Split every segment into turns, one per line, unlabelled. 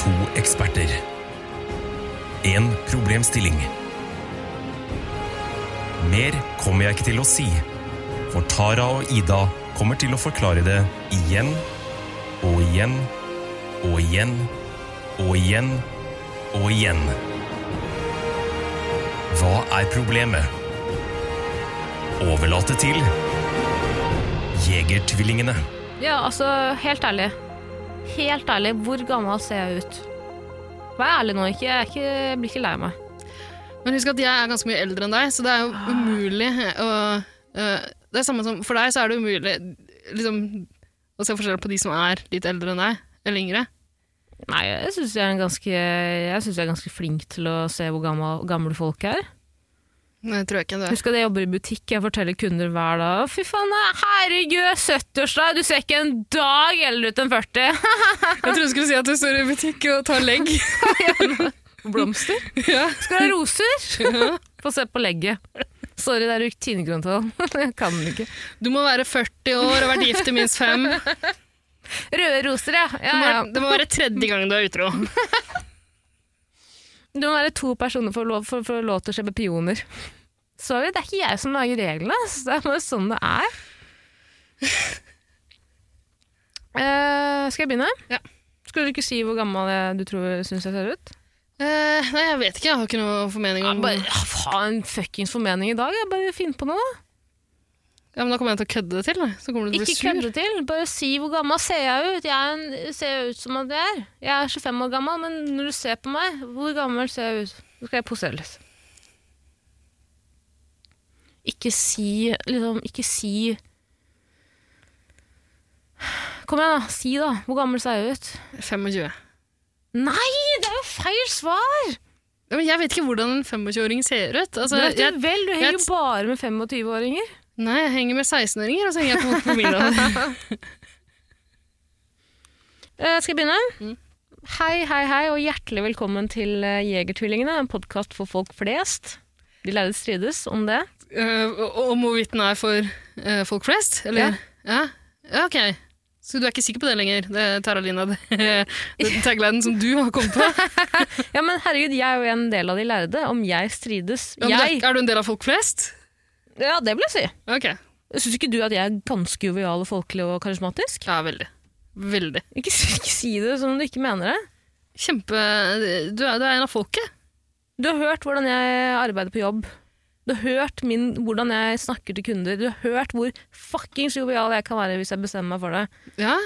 To eksperter. En problemstilling. Mer kommer jeg ikke til å si, for Tara og Ida kommer til å forklare det igjen og igjen og igjen og igjen og igjen. Hva er problemet? Overlate til Jegertvillingene.
Ja, altså, helt ærlig. Helt ærlig, hvor gammel ser jeg ut? Vær ærlig nå, ikke, jeg er ikke, jeg blir ikke lei meg.
Men husk at jeg er ganske mye eldre enn deg, så det er jo umulig eh, å øh, Det er samme som For deg så er det umulig liksom, å se forskjell på de som er litt eldre enn deg, eller yngre.
Nei, jeg syns jeg, er en ganske- jeg, synes jeg er ganske flink til å se hvor gammel, gamle folk er.
Det tror jeg ikke du er.
Husk at jeg jobber i butikk, jeg forteller kunder hver dag «Å, Fy faen, herregud, 70-årsdag, du ser ikke en dag eldre ut enn 40.
Jeg trodde du skulle si at du står i butikk og tar legg.
Blomster?
ja.
Skal du ha roser? Få se på legget. Sorry, det er jo tinegrønntall. Jeg kan den ikke.
Du må være 40 år og vært gift i minst fem.
Røde roser, ja.
Det
ja,
må,
ja.
det må være tredje gang du er utro.
Det må være to personer for å lov, for, for å lov til å kjøpe pioner. Sorry, det er ikke jeg som lager reglene. ass. Det er bare sånn det er. Eh, skal jeg begynne?
Ja.
Skal du ikke si hvor gammel jeg- du tror syns jeg ser ut?
Eh, nei, jeg vet ikke. Jeg har ikke noe formening
Ja,
om
bare, ja, faen, fuckings formening i dag. Jeg bare finn på noe. da.
Ja, men Da kommer jeg til å kødde det til. da. Så kommer du til å
Ikke
bli sur.
kødde til. Bare si hvor gammel ser jeg ut. Jeg er en, ser jeg ut som at jeg er. Jeg er 25 år gammel, men når du ser på meg, hvor gammel ser jeg ut? Nå skal jeg posere litt. Ikke si liksom, Ikke si Kom igjen, da. Si, da. Hvor gammel ser jeg ut?
25.
Nei, det er jo feil svar!
Ja, men jeg vet ikke hvordan en 25-åring ser ut. Altså,
Du vet jo
jeg,
vel, du henger
jeg-
jo bare med 25-åringer.
nei, jeg henger med 16-åringer, og så henger jeg på mobilen.
Eh, skal jeg begynne? Hei, hei, hei, og hjertelig velkommen til eh, Jegertvillingene, en podkast for folk flest. De lærde strides om det.
Eh, og- Om hvorvidt den er for eh, folk flest? Eller? Ja. ja. Ok. Så du er ikke sikker på det lenger? Det er Taralina, det, det er taglinen som du har kommet på?
Ja, men herregud, jeg er jo en del av de lærde. Om jeg strides
Ja, men du er,
Jeg!
er du en del av folk flest?
Ja, det vil jeg si.
Ok.
Syns ikke du at jeg er ganske jovial og folkelig og karismatisk?
Ja, veldig. Veldig.
Ikke, si- ikke si det som om du ikke mener det.
Kjempe Du er, du er en av folket.
Du har hørt hvordan jeg arbeider på jobb. Du har hørt min, hvordan jeg snakker til kunder. Du har hørt hvor fuckings jovial jeg kan være hvis jeg bestemmer meg for det.
Ja.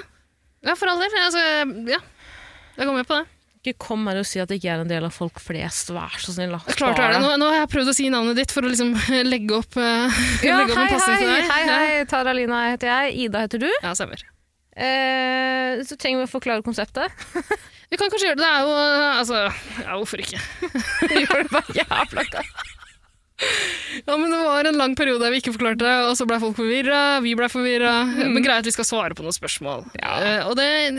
ja, for all del. Altså, ja. Jeg går med på det.
Ikke kom her og si at jeg ikke er en del av folk flest, vær så snill. da.
Klart er
Spar
det.
deg.
Nå, nå har jeg prøvd å si navnet ditt for å liksom legge opp, eh,
Ja,
legge opp
hei,
en passing til
hei,
deg.
hei,
Ja.
hei. Tara Lina heter jeg. Ida heter du.
Ja, stemmer.
Eh, så trenger vi å forklare konseptet.
Vi kan kanskje gjøre det. Det er jo eh, Altså, ja, hvorfor ikke?
Gjør det bare jævla godt.
Ja, men Det var en lang periode der vi ikke forklarte det, og så ble folk forvirra. Vi ble forvirra. Men greia er at vi skal svare på noen spørsmål.
Mm. Ja.
Eh, og det er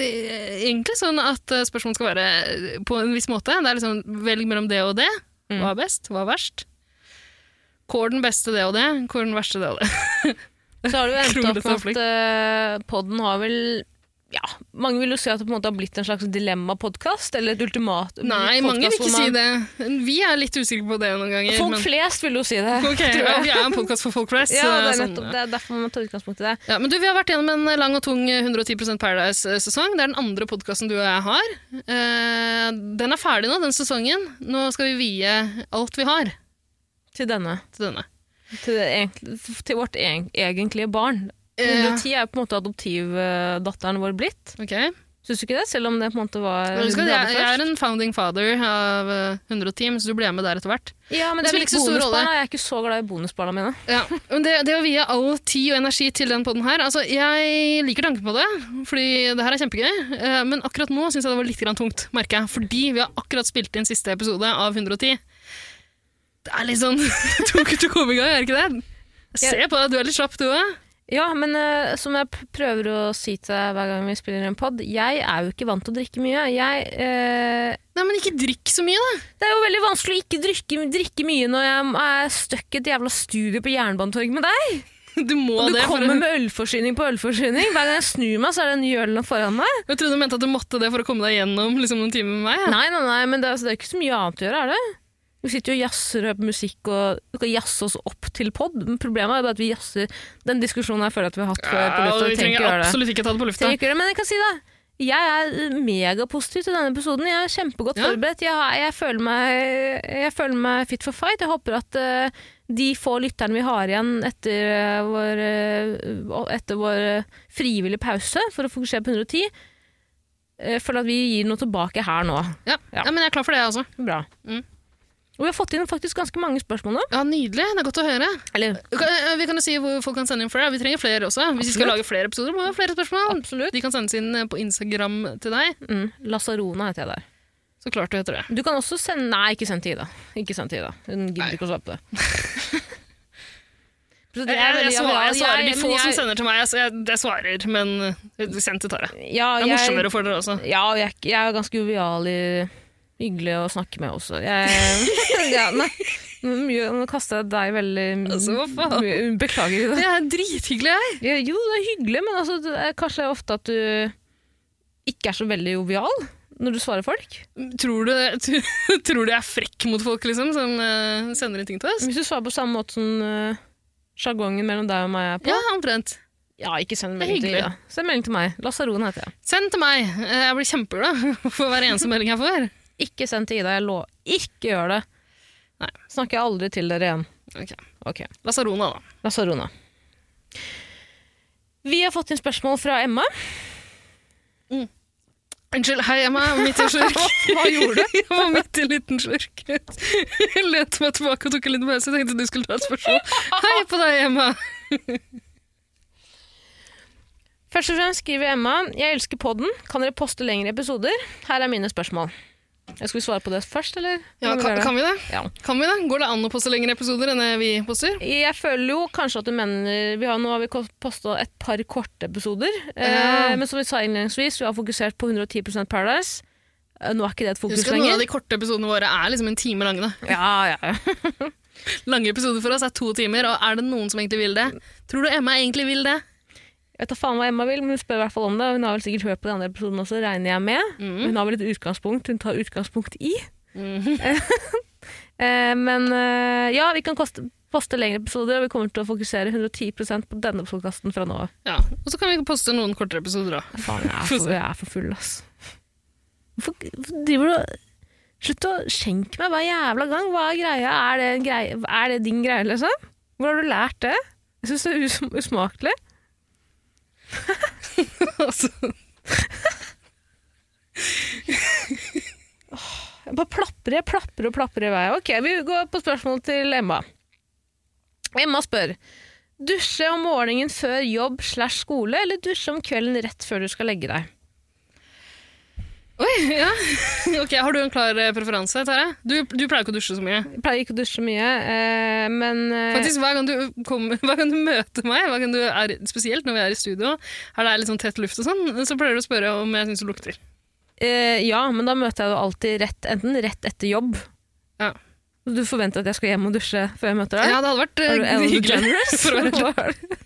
egentlig sånn at eh, spørsmål skal være eh, på en viss måte. Det er liksom velg mellom det og det.
Mm.
Hva er best? Hva er verst? Hvor er den beste det og det? Hvor er den verste det og det?
Så har det jo endt opp med
Kronglete
at eh, podden har vel ja, Mange vil jo si at det på en måte har blitt en slags dilemmapodkast, eller et ultimat.
Nei,
podcast
mange vil
hvor
ikke si
man-
det. Vi er litt usikre på det noen ganger.
Folk
men-
flest vil jo si det.
Ok,
tror
ja,
jeg.
vi er en podkast for folk flest.
Ja, det
så
er
sånn,
nettopp
ja.
det er derfor man tar utgangspunkt i det.
Ja, men du, Vi har vært gjennom en lang og tung 110 Paradise-sesong. Det er den andre podkasten du og jeg har. Eh, den er ferdig nå, den sesongen. Nå skal vi vie alt vi har
Til denne.
til denne.
Til, det, egentlig- til vårt egen- egentlige barn.
Eh,
110 er jo på en måte adoptivdatteren vår blitt.
ok.
Syns du ikke det? Selv om det på en måte var
Men husk
hun
at
hadde
jeg, jeg er en founding father av eh, 110, så du ble med der etter hvert.
Ja, men
Det
det er
spiller
litt
ikke så stor rolle.
bonusbarna. Jeg er ikke så glad i bonusbarna mine.
Ja, men det, det å vie all tid og energi til den podden her altså, Jeg liker tanken på det, fordi det her er kjempegøy. eh, Men akkurat nå syns jeg det var litt grann tungt, merker jeg. Fordi vi har akkurat spilt inn siste episode av 110. Det er litt sånn tungt å komme i gang, er det ikke det? Jeg ser på deg, du er litt slapp, du òg.
Ja, men eh, som jeg p- prøver å si til deg hver gang vi spiller en pod, jeg er jo ikke vant til å drikke mye. Jeg, eh,
Nei, men ikke drikk så mye, da.
det er jo veldig vanskelig å ikke drikke, drikke mye når jeg er stuck i et jævla studio på Jernbanetorget med deg.
Du må
Og du
det. for å-
kommer med ølforsyning på ølforsyning. Hver gang jeg snur meg, så er det en ny øl nå foran meg.
Jeg trodde du mente at du måtte det for å komme deg gjennom liksom, noen timer med meg. ja.
Nei, nei, nei, men det er, altså, det er ikke så mye annet å gjøre, er det? Vi sitter jo og jazzer og hører på musikk og du kan jazze oss opp til pod. Men problemet er jo bare at vi jazzer Den diskusjonen her føler jeg at vi har hatt før. på
Ja,
lufta,
vi
vi trenger
trenger
ikke gjøre det.
absolutt ikke ta det på lufta.
Trenger ikke gjøre det, men jeg kan si det. Jeg er eh, megapositiv til denne episoden. Jeg er kjempegodt
Ja.
forberedt. Jeg, har- jeg, føler meg, jeg føler meg fit for fight. Jeg håper at eh, de få lytterne vi har igjen etter eh, vår, eh, etter vår eh, frivillige pause for å fokusere på 110, eh, føler at vi gir noe tilbake her nå.
Ja.
Ja.
ja, men jeg er klar for det, jeg også.
Bra.
Mm.
Og vi har fått inn faktisk ganske mange spørsmål nå.
Ja, Nydelig. Det er godt å høre.
Eller,
Vi kan- Vi kan jo si hvor folk kan sende inn flere. Vi trenger flere også. Hvis vi skal lage flere episoder, må vi ha flere spørsmål. De kan sendes inn eh, på Instagram til deg.
mm, Lasarona heter jeg der.
Så klart du heter det.
Du kan også sende Nei, ikke send til Ida. Ikke send til Ida. Hun gidder
Nei.
ikke å svare på det. Så
Jeg,
det er
jeg,
veldig-
svarer, jeg svarer de
men
få
jeg-
som sender til meg. Jeg, jeg, jeg svarer, men eh, send til Tara.
Ja,
Det er
jeg,
morsommere for dere også.
ja jeg, er ikke- jeg er ganske jovial i Hyggelig å snakke med også. Jeg, ja, nei, nå mye- nå kaster jeg deg veldig
Altså, hva faen?
mye- Beklager. Ida.
Mm. Det er drithyggelig, jeg.
Ja, jo, det er hyggelig, men altså, det er kanskje ofte at du ikke er så veldig jovial når du svarer folk.
Tror du, tr- tror du jeg er frekk mot folk liksom, som eh, sender inn ting til oss?
Hvis du svarer på samme måte som eh, sjargongen mellom deg og meg er på,
Ja, omtrent.
Ja, ikke send
Det er
melding til
hyggelig.
Ida. Send melding til meg. Lasaron heter jeg.
Send til meg. Eh, Jeg blir kjempeglad for hver eneste melding jeg får.
Ikke send til Ida. Jeg lå Ikke gjør det!
Nei.
Snakker jeg aldri til dere igjen.
Ok.
Ok.
Lasarona, da.
Lasarona. Vi har fått inn spørsmål fra Emma.
Unnskyld. Hei, Emma. Midt i en slurk.
Hva gjorde du?
Jeg var midt i en liten slurk. Jeg lente meg tilbake og tok en liten pause. Jeg tenkte du skulle ta et spørsmål. Hei på deg, Emma.
Først og fremst skriver Emma Jeg elsker podden. Kan dere poste lengre episoder? Her er mine spørsmål. Jeg Skal vi svare på det først, eller?
Ja,
Hvordan
kan,
er det?
kan vi det?
Ja.
Kan vi det? Går det an å poste lengre episoder enn det vi poster?
Jeg føler jo kanskje at du mener vi har, Nå har vi posta et par korte episoder. Eh,
Ja.
men som vi sa innledningsvis, vi har fokusert på 110 Paradise. Eh, Nå er ikke det et fokus
Husk at noen av
lenger.
de korte episodene våre er liksom en time lange. Da.
Ja, ja.
Lange episoder for oss er to timer, og er det noen som egentlig vil det? Tror du Emma egentlig vil det?
Jeg vet da faen hva Emma vil, men hun spør i hvert fall om det. og Hun har vel sikkert hørt på de andre episodene også, regner jeg med.
Mm.
Hun har vel et utgangspunkt hun tar utgangspunkt i.
Mhm.
Eh, men eh, ja, vi kan koste, poste lengre episoder, og vi kommer til å fokusere 110 på denne podkasten fra nå av.
Ja. Og så kan vi poste noen kortere episoder òg.
Faen, jeg er for, jeg er for full, ass. Hvorfor hvorfor driver du og Slutt å skjenke meg hver jævla gang. Hva er greia? Er det, en greie, er det din greie, liksom? Hvor har du lært det? Jeg syns det er us usmakelig.
Altså,
Jeg bare plaprer jeg plaprer og plaprer i vei. Ok, Vi går på spørsmål til Emma. Emma spør Dusje om morgenen før jobb slash skole, eller dusje om kvelden rett før du skal legge deg?
Oi, ja. Ok, Har du en klar eh, preferanse, Tara? Du, du pleier ikke å dusje så mye.
Jeg pleier ikke å dusje mye, eh, men eh,
Faktisk, hver gang, du kommer, hver gang du møter meg, hver gang du er, spesielt når vi er i studio, her det er litt sånn tett luft og sånn, så pleier du å spørre om jeg syns du lukter.
eh, Ja, men da møter jeg deg alltid rett, enten rett etter jobb
Ja.
Du forventer at jeg skal hjem og dusje før jeg møter deg?
Ja, det hadde vært
Er du
eh,
Ellen
hyggelig.
DeGeneres?
For å være klar.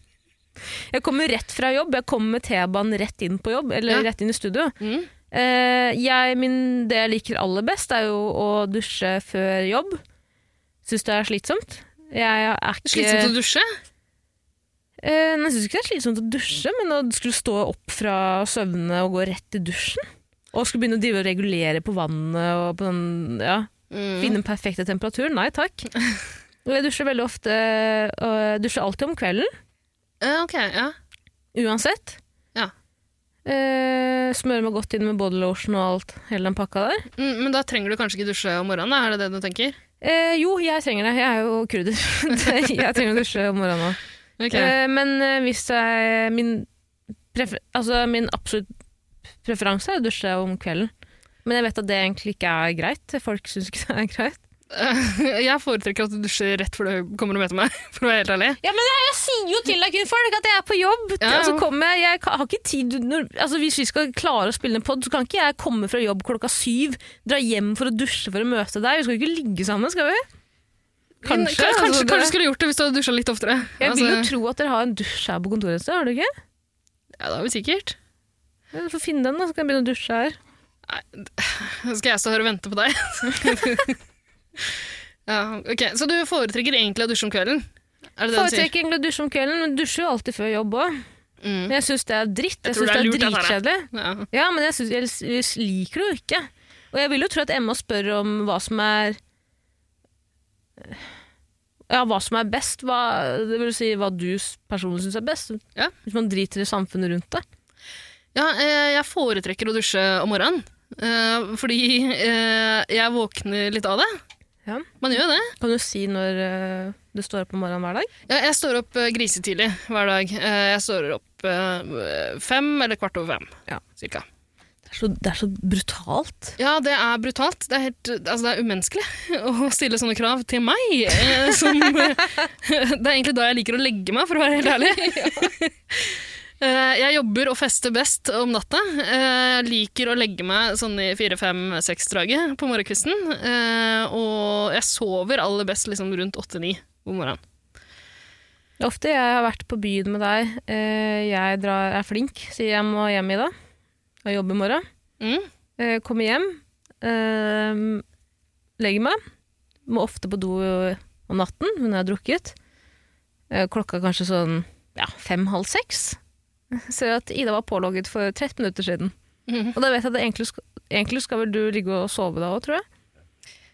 Jeg kommer rett fra jobb. Jeg kommer med T-banen rett inn på jobb, eller
Ja.
rett inn i studio.
Mm.
Eh, jeg, min, det jeg liker aller best, er jo å dusje før jobb. Syns det er slitsomt. Jeg er ikke
Slitsomt å dusje.
Eh, nei, jeg syns ikke det er slitsomt å dusje, men å skulle stå opp fra søvnene og gå rett i dusjen Og skulle begynne å drive og regulere på vannet og på den, ja,
Mm.
finne den perfekte temperaturen. Nei takk. Og jeg dusjer veldig ofte, og jeg dusjer alltid om kvelden.
Ja, ok, ja.
Uansett.
Ja.
Eh, smører meg godt inn med body lotion og alt, hele den pakka der.
Mm, men da trenger du kanskje ikke dusje om morgenen, da? er det det du tenker?
Eh, jo, jeg trenger det. Jeg er jo kurder. Det- jeg trenger å dusje om morgenen òg.
Ok.
Eh, men eh, hvis jeg min, prefer altså, min absolutt preferanse er å dusje om kvelden. Men jeg vet at det egentlig ikke er greit. Folk syns ikke det er greit.
jeg foretrekker at du dusjer rett før du kommer og møter meg, for å være helt ærlig.
Jeg sier jo til deg, kvinnfolk, at jeg er på jobb!
Ja, ja.
Og så kommer jeg, jeg ka- har ikke tid når, altså Hvis vi skal klare å spille en pod, så kan ikke jeg komme fra jobb klokka syv, dra hjem for å dusje for å møte deg. Vi skal jo ikke ligge sammen, skal vi? Kanskje,
Kanskje, kanskje,
altså, det-
kanskje du skulle gjort det hvis du hadde dusja litt oftere.
Jeg vil jo
Altså,
tro at dere har en dusj her på kontoret et sted, har du ikke?
ja, det har vi sikkert.
Ja, Du får finne den, da, så kan jeg begynne å dusje her.
Skal jeg stå her og vente på deg? ja, ok. Så du foretrekker egentlig å dusje om kvelden? Er det det du sier?
Foretrekker egentlig å dusje om kvelden, men dusjer jo alltid før jobb òg.
Mm.
Men jeg syns det er dritt. Jeg,
tror
synes
det er
det
lurt,
er
dette her,
dritkjedelig.
Ja.
Ja, men jeg, synes, jeg s- liker det jo ikke. Og jeg vil jo tro at Emma spør om hva som er eh, Ja, hva som er best. Hva, det vil si hva du s- personlig syns er best.
Ja.
Hvis man driter i samfunnet rundt deg.
Ja, eh, jeg foretrekker å dusje om morgenen. eh, fordi eh, jeg våkner litt av det.
Ja.
Man gjør jo det.
Kan du si når eh, du står opp om morgenen hver dag?
Ja, jeg står opp eh, grisetidlig hver dag. Eh, jeg står opp eh, fem eller kvart over fem.
Ja.
Cirka.
Det er så, det er så brutalt.
Ja, det er brutalt. Det er, helt, altså, det er umenneskelig å stille sånne krav til meg. eh, Som, eh, det er egentlig da jeg liker å legge meg, for å være helt ærlig. Eh, Jeg jobber og fester best om natta. Eh, Jeg liker å legge meg sånn i fire-fem-seks-draget på morgenkvisten. Eh, Og jeg sover aller best liksom rundt åtte-ni om morgenen.
Det er Ofte jeg har vært på byen med deg, eh, jeg drar, er flink, sier jeg må hjem i dag. Og jobber i morgen.
Mm.
Eh, kommer hjem, eh, legger meg. Må ofte på do om natten når jeg har drukket. Eh, klokka kanskje sånn ja, fem-halv seks. Ser at Ida var pålogget for 13 minutter siden.
Mhm.
Og da vet jeg at det egentlig, skal, egentlig skal vel du ligge og sove da òg, tror jeg.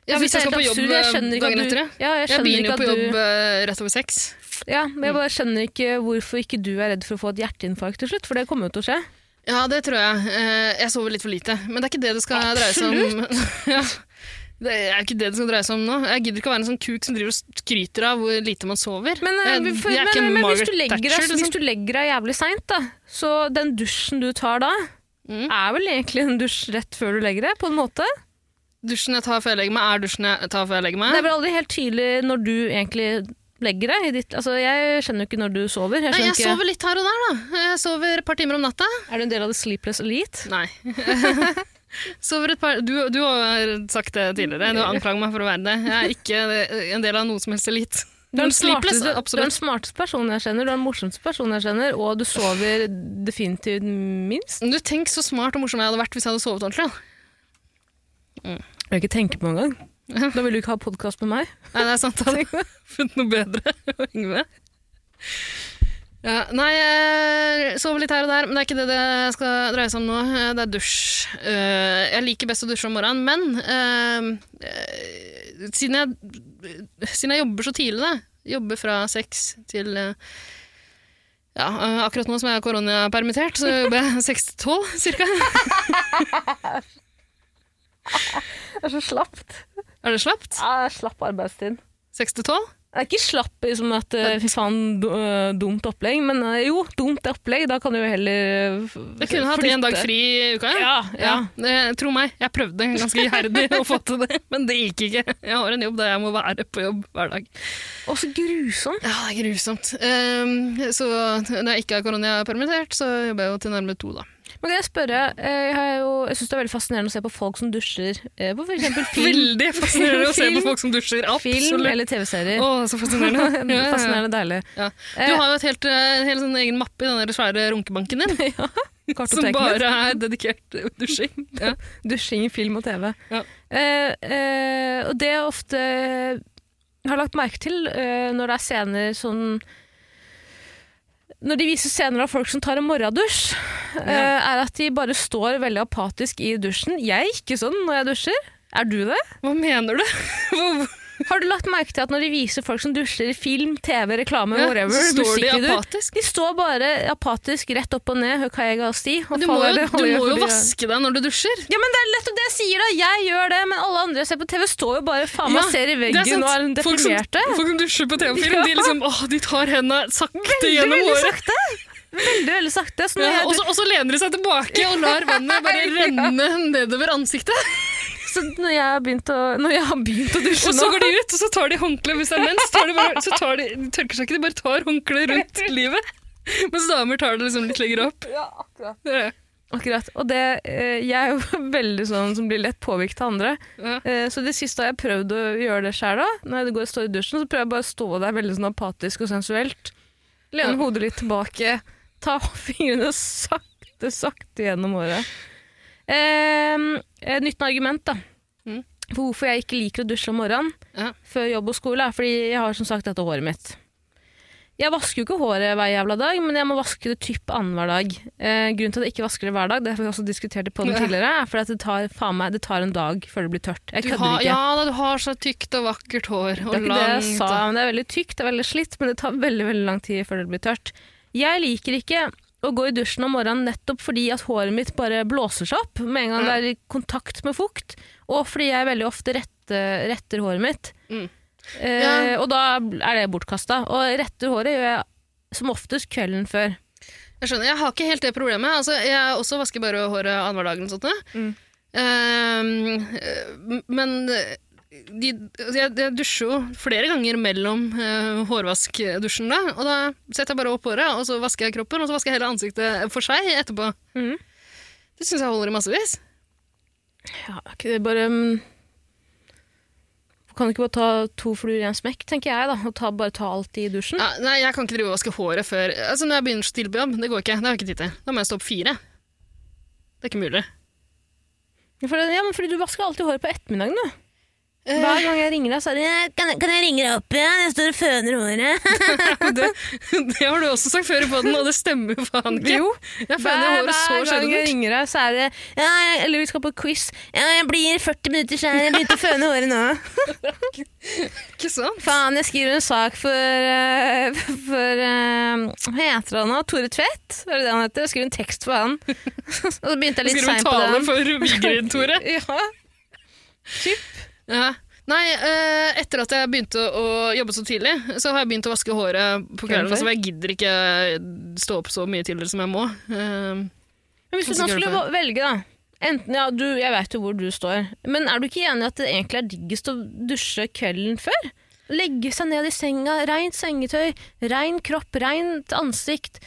Ja,
Jeg
hvis
synes
jeg skal
det er
på
helt
jobb
absurd. Jeg skjønner
eh,
ikke at
dagen
du-
etter det.
Ja, jeg
Jeg
skjønner
begynner
ikke
jo
at
på jobb
du
eh, rett over seks.
Ja, men jeg bare skjønner ikke hvorfor ikke du er redd for å få et hjerteinfarkt til slutt, for det kommer jo til å skje.
Ja, det tror jeg. Eh, Jeg sover litt for lite. Men det er ikke det det skal dreie seg om. ja. Det er ikke det det skal dreie seg om nå. Jeg gidder ikke å være en sånn kuk som driver og skryter av hvor lite man sover.
Men, eh,
Jeg-
vi- for,
jeg er
men,
ikke
men, men hvis,
Margaret
du legger, deg-
Thatcher, liksom.
hvis du legger deg jævlig seint, da, så den dusjen du tar da,
Mm.
er vel egentlig en dusj rett før du legger deg, på en måte?
Dusjen jeg tar før jeg legger meg, er dusjen jeg tar før jeg legger
Det
meg.
er vel aldri helt tydelig når du egentlig legger deg? I ditt, altså, jeg skjønner jo ikke når du sover. Jeg
Nei,
skjønner
jeg
ikke,
sover litt her og der, da. Eh, Jeg sover et par timer om natta.
Er du en del av The Sleepless Elite?
Nei. sover et par... Du, du har sagt det tidligere. Du anklager meg for å være det. Jeg er ikke en del av noe som helst elit.
Du er,
Men
den
sleepless,
smarteste, du er den
absolutt.
smarteste personen jeg kjenner, du er den morsomste personen jeg kjenner, og du sover definitivt minst.
Du, tenk så smart og morsom jeg hadde vært hvis jeg hadde sovet ordentlig. da.
Jeg vil ikke tenke på engang. Da vil du ikke ha podkast med meg.
Nei, det er sant. Jeg hadde funnet noe bedre å henge med. Ja, nei, jeg sover litt her og der, men det er ikke det det skal dreie seg om nå. Det er dusj. Eh, Jeg liker best å dusje om morgenen, men eh, eh, siden, jeg, siden jeg jobber så tidlig, da, jobber fra seks til eh, ja, eh, akkurat nå som jeg er koronapermittert, så jobber jeg seks til tolv, cirka.
Det er så slapt.
Er det slapt?
Ja, slapp arbeidstid.
Seks til tolv?
Det er ikke slapp i som at eh, fy faen, du- eh, dumt opplegg, men eh, jo, dumt opplegg. Da kan du jo heller eh,
Jeg kunne hatt
flytte.
én dag fri i uka.
Ja, ja.
Ja, eh, tro meg, jeg prøvde ganske iherdig å få til det, men det gikk ikke. Jeg har en jobb der jeg må være på jobb hver dag.
Og så grusomt.
Ja, det er grusomt. Ehm, så når jeg ikke er koronapermittert, så jobber jeg jo til nærmere to, da.
Men kan jeg spørre, eh, jeg, har jo, jeg synes det er veldig fascinerende å se på folk som dusjer eh, på for eksempel film,
Veldig fascinerende å se på
Film.
folk som dusjer.
film
Absolutt.
eller TV-serier.
Å, så fascinerende. Ja, ja, ja.
fascinerende deilig.
Ja. Du har jo et helt, eh, en hel sånn egen mappe i den der svære runkebanken din, som
Kartoteket mitt.
bare er dedikert til dusjing. Ja.
Dusjing i film og TV.
Ja.
Eh, eh, og det jeg ofte eh, har lagt merke til eh, når det er scener sånn Når de viser scener av folk som tar en morgendusj, eh, er at de bare står veldig apatisk i dusjen. Jeg er ikke sånn når jeg dusjer. Er du det?
Hva mener du? Hvor-
Har du lagt merke til at når de viser folk som dusjer i film, TV, reklame,
Ja,
whatever,
så står de
musikkvideoer,
apatisk.
de står bare apatisk rett opp og ned, Hukaiga og Sti. og
Du må
faller-
jo, du
holder
må jo
fordi-
vaske deg når du dusjer.
Ja, men det er lett og det jeg sier da, jeg gjør det, men alle andre jeg ser på TV står jo bare faen meg
Ja,
ser i
Det er sant.
veggen og er
folk som,
deprimerte.
folk som dusjer på TV-film, de, liksom, åh, de tar hendene sakte
Veldig,
gjennom
veldig
håret.
sakte. Veldig, veldig sakte. Så når
Ja,
jeg,
og, så, og så lener de seg tilbake og lar vannet bare renne nedover ansiktet.
så når jeg har begynt å, når jeg har begynt å dusje
Og så
nå
går de ut, og så tar de håndkle hvis det er mens. Tar de bare, så tar de, de tørker seg ikke, de bare tar håndkle rundt livet. Mens damer tar det liksom litt lenger opp. Ja.
Akkurat. Og det, eh, jeg er jo veldig sånn som blir lett påvirket av andre.
Ja.
Eh, Så det siste har jeg prøvd å gjøre det sjøl òg. Når jeg går og står i dusjen, så prøver jeg bare å stå der veldig sånn apatisk og sensuelt. Lene
Ja.
hodet litt tilbake, ta fingrene sakte, sakte gjennom håret. Eh, et nytt argument, da.
Mm.
For hvorfor jeg ikke liker å dusje om morgenen
Ja.
før jobb og skole, er fordi jeg har som sagt dette håret mitt. Jeg vasker jo ikke håret hver jævla dag, men jeg må vaske det typ annenhver dag. Eh, grunnen til at jeg ikke vasker det hver dag, det har vi også diskutert på den
Ja.
tidligere, er fordi at det tar, faen meg, det tar en dag før det blir tørt. Jeg
Du
kødder
har,
ikke.
ja da, du har så tykt og vakkert hår. Og
Det er ikke det jeg
langt,
sa,
og-
men det er veldig tykt, det er veldig slitt, men det tar veldig, veldig lang tid før det blir tørt. Jeg liker ikke å gå i dusjen om morgenen nettopp fordi at håret mitt bare blåser seg opp med en gang det er i kontakt med fukt, og fordi jeg veldig ofte retter, retter håret mitt.
Mm.
Eh, Og da er det bortkasta. Og retter håret gjør jeg som oftest kvelden før.
Jeg skjønner, jeg har ikke helt det problemet. Altså, jeg også vasker bare håret annenhver dag. eller noe sånt.
Mm.
Ehm, eh, men eh, de, altså, jeg, jeg dusjer jo flere ganger mellom eh, hårvaskdusjen. Da, og da setter jeg bare opp håret, og så vasker jeg kroppen, og så vasker jeg hele ansiktet for seg etterpå.
Mhm.
Det syns jeg holder i massevis.
Ja, ikke det bare mm, Kan du ikke bare ta to fluer i en smekk, tenker jeg, da, og ta, bare ta alt i dusjen?
Ja, nei, jeg kan ikke drive og vaske håret før Altså, Når jeg begynner så tidlig på jobb, det går ikke. Det har jeg ikke tid til. Da må jeg stå opp fire. Det er ikke mulig.
For, ja, men fordi du vasker alltid håret på ettermiddagen, du.
Eh,
Hver gang jeg ringer deg, så er det kan, jeg- kan jeg ringe deg opp igjen? Jeg står og føner håret.
det, det har du også sagt før i poden, og det stemmer jo faen ikke.
Jo,
Jeg føler
hver,
håret så
hver gang jeg
sjeldent.
ringer deg, så er det ja, jeg, Eller vi skal på quiz. Ja, jeg blir 40 minutter siden. Jeg begynte å føne håret nå.
Ikke sant?
Faen, jeg skriver en sak for, eh, for eh, Hva heter han nå? Tore Tvedt? Er det det han heter? Jeg skriver en tekst for han. Og så begynte jeg litt seint
Skal du
på
tale
den.
for Vigrid, Tore?
Ja.
Ja. Nei, eh, etter at jeg begynte å jobbe så tidlig, så har jeg begynt å vaske håret
Kvelden
på kvelden.
før?
Så jeg gidder ikke stå opp så mye tidligere som jeg må. Eh,
Men hvis du nå skulle va- velge, da. Enten, ja, du, jeg veit jo hvor du står, men er du ikke enig i at det egentlig er diggest å dusje kvelden før? Legge seg ned i senga, rent sengetøy, rein kropp, rent ansikt,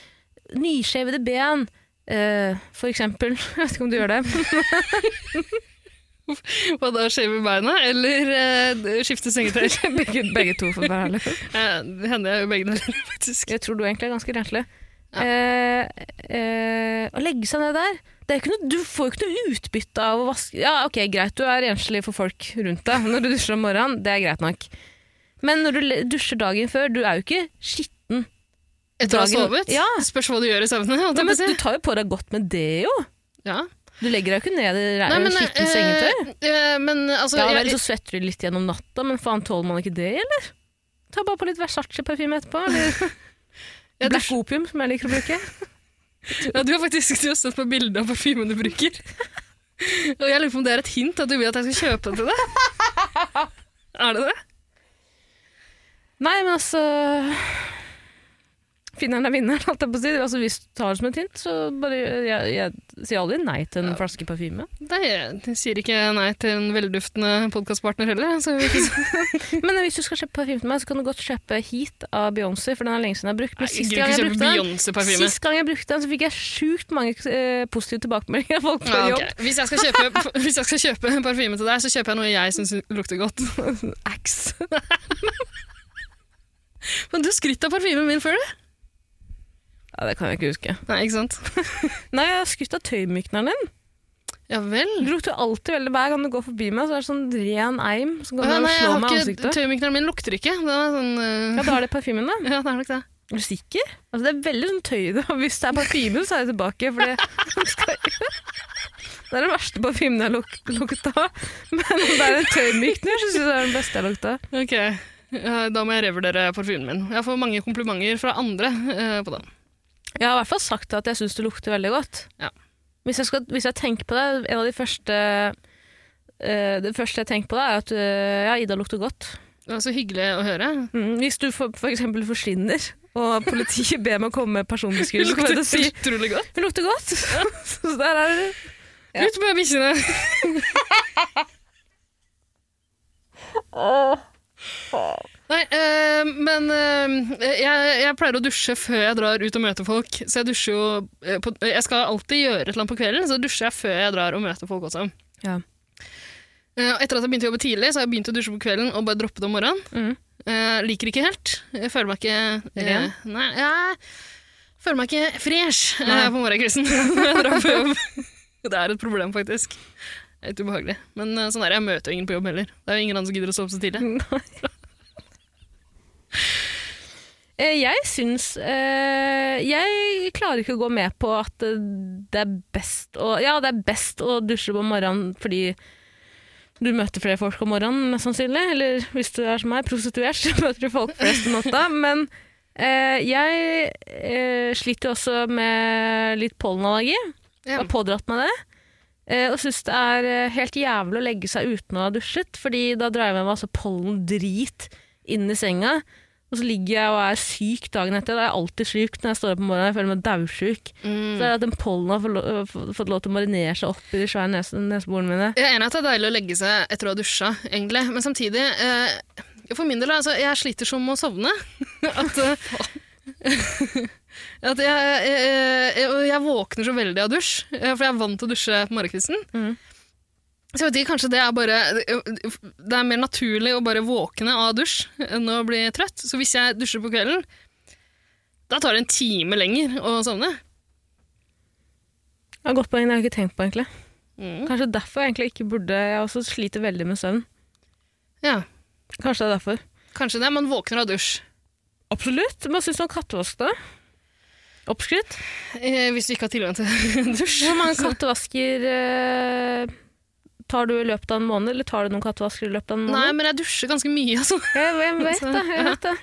nyskjevede ben, eh, for eksempel. Jeg vet ikke om du gjør det.
Og da skjeve beina, eller eh, skifte sengetøy.
begge, begge to, for å være ærlig.
Eh, Det hender jeg jo begge deler, faktisk.
Jeg tror du egentlig er ganske renslig. Eh, eh, å legge seg ned der det er ikke noe, Du får jo ikke noe utbytte av å vaske Ja, ok, greit, du er renslig for folk rundt deg når du dusjer om morgenen, det er greit nok. Men når du le- dusjer dagen før, du er jo ikke skitten.
Etter å ha
Dagen-
sovet.
Ja.
Spørs hva du gjør i søvne. holdt
Ja,
jeg på
men
å si.
du tar jo på deg godt med det, jo.
Ja.
Du legger deg jo ikke ned i
Nei,
re-
men,
skitten
eh,
sengetøy.
eh, men altså,
Ja vel, så
jeg,
svetter du litt gjennom natta, men faen, tåler man ikke det, eller? Ta bare på litt Versace-parfyme etterpå, eller
Ja,
Black Opium, som jeg liker å bruke.
Ja, du har faktisk du har sett på bildet av parfymen du bruker. Og jeg lurer på om det er et hint at du vil at jeg skal kjøpe den til deg? Er det det?
Nei, men altså Finneren er vinneren, holdt jeg på å si. Altså, hvis du tar det som et hint, så bare Jeg, jeg sier aldri nei til en flaske parfyme.
Nei, jeg sier ikke nei til en velduftende podkastpartner heller. Så vi ikke så-
Men hvis du skal kjøpe parfyme til meg, så kan du godt kjøpe Heat av Beyoncé, for den er lenge siden jeg har brukt. Men
jeg
sist
gidder
gang jeg
ikke kjøpe
brukte den,
Beyoncé-parfyme.
sist gang jeg brukte den, så fikk jeg sjukt mange eh, positive tilbakemeldinger av folk på
Ja, Ah, ok.
jobb.
hvis, jeg skal kjøpe, hvis jeg skal kjøpe en parfyme til deg, så kjøper jeg noe jeg syns lukter godt.
Axe.
Men du har skrytt av parfymen min før, du?
Ja, det kan jeg ikke huske.
Nei, ikke sant?
Nei, jeg har skutt av tøymykneren din.
Ja vel.
Du lukter jo alltid veldig Hver gang du går forbi meg, så er det sånn ren eim som
Ja,
kommer
nei,
og
jeg
slår
har
meg i
ikke,
ansiktet.
tøymykneren min lukter ikke. Den er sånn,
Ja,
eh,
da er det parfymen, da.
ja, det er nok det.
Er du sikker? Altså, det er veldig sånn tøy i det. og Hvis det er parfyme, så er jeg tilbake. For det, det er den verste parfymen jeg har luk lukta. Men om det er en tøymykner, så syns jeg det er den beste jeg har lukta.
Ok, eh, da må jeg revurdere parfymen min. Jeg får mange komplimenter fra andre eh, på den.
Jeg har i hvert fall sagt at jeg syns det lukter veldig godt.
Ja.
Hvis, jeg skal, hvis jeg tenker på det, en av de første eh, det første jeg tenker på, da, er at eh, ja, Ida lukter godt.
Det var så hyggelig å høre.
Mm, hvis du for, for eksempel forsvinner, og politiet ber meg komme med personbeskrivelse, så kan jeg
lukter
da si
utrolig godt.
Hun lukter godt! så der er det Ja.
Ut med bikkjene! Nei, eh, men eh, jeg, jeg pleier å dusje før jeg drar ut og møter folk. Så jeg dusjer jo eh, på, Jeg skal alltid gjøre et eller annet på kvelden, så dusjer jeg før jeg drar og møter folk også.
Ja.
Eh, og Etter at jeg begynte å jobbe tidlig, så har jeg begynt å dusje på kvelden og bare droppe det om morgenen.
Mm.
Eh, liker ikke helt. Jeg føler meg ikke eh,
Ren?
Nei, jeg føler meg ikke fresh eh,
Nei.
på morgenkvisten når jeg drar på jobb. Det er et problem, faktisk. Det er Litt ubehagelig. Men eh, sånn er det. Jeg møter jo ingen på jobb heller. Det er jo ingen andre som gidder å stå opp så tidlig.
Eh, Jeg syns eh, Jeg klarer ikke å gå med på at eh, det er best å Ja, det er best å dusje på morgenen fordi du møter flere folk om morgenen, mest sannsynlig. Eller hvis du er som meg, prostituert, så møter du folk flest om natta. Men eh, jeg eh, sliter jo også med litt pollenallergi. Jeg
Ja.
har pådratt meg det. Eh, og syns det er eh, helt jævlig å legge seg uten å ha dusjet, fordi da drar jeg med meg altså pollendrit inn i senga. Og så ligger jeg og er syk dagen etter. Da er jeg alltid syk når jeg står opp om morgenen. Jeg føler meg daudsjuk.
Mm.
Så er det at den pollen har fått lo- øh, fått fått lov til å marinere seg opp i de svære nes neseborene mine.
Jeg er enig i at det er deilig å legge seg etter å ha dusja, egentlig. Men samtidig eh, For min del, altså, jeg sliter som å sovne. At, eh, at jeg, eh, jeg, og jeg våkner så veldig av dusj, eh, for jeg er vant til å dusje på morgenkvisten.
Mhm.
Så jeg vet ikke, kanskje det er bare Det er mer naturlig å bare våkne av dusj enn å bli trøtt. Så hvis jeg dusjer på kvelden, da tar det en time lenger å sovne.
Det er et godt poeng, det har jeg ikke tenkt på egentlig.
Mhm.
Kanskje derfor jeg egentlig ikke burde Jeg også sliter veldig med søvn.
Ja,
Kanskje det er derfor.
kanskje det. Man våkner av dusj.
Absolutt. Hva syns du om kattevask, da? Oppskrytt?
Eh, hvis du ikke har tilgang til dusj.
Hvor mange kattevasker eh, tar du i løpet av en måned, eller tar du noen kattevasker i løpet av en måned?
Nei, men jeg dusjer ganske mye, altså.
Jeg, jeg vet det. jeg vet det.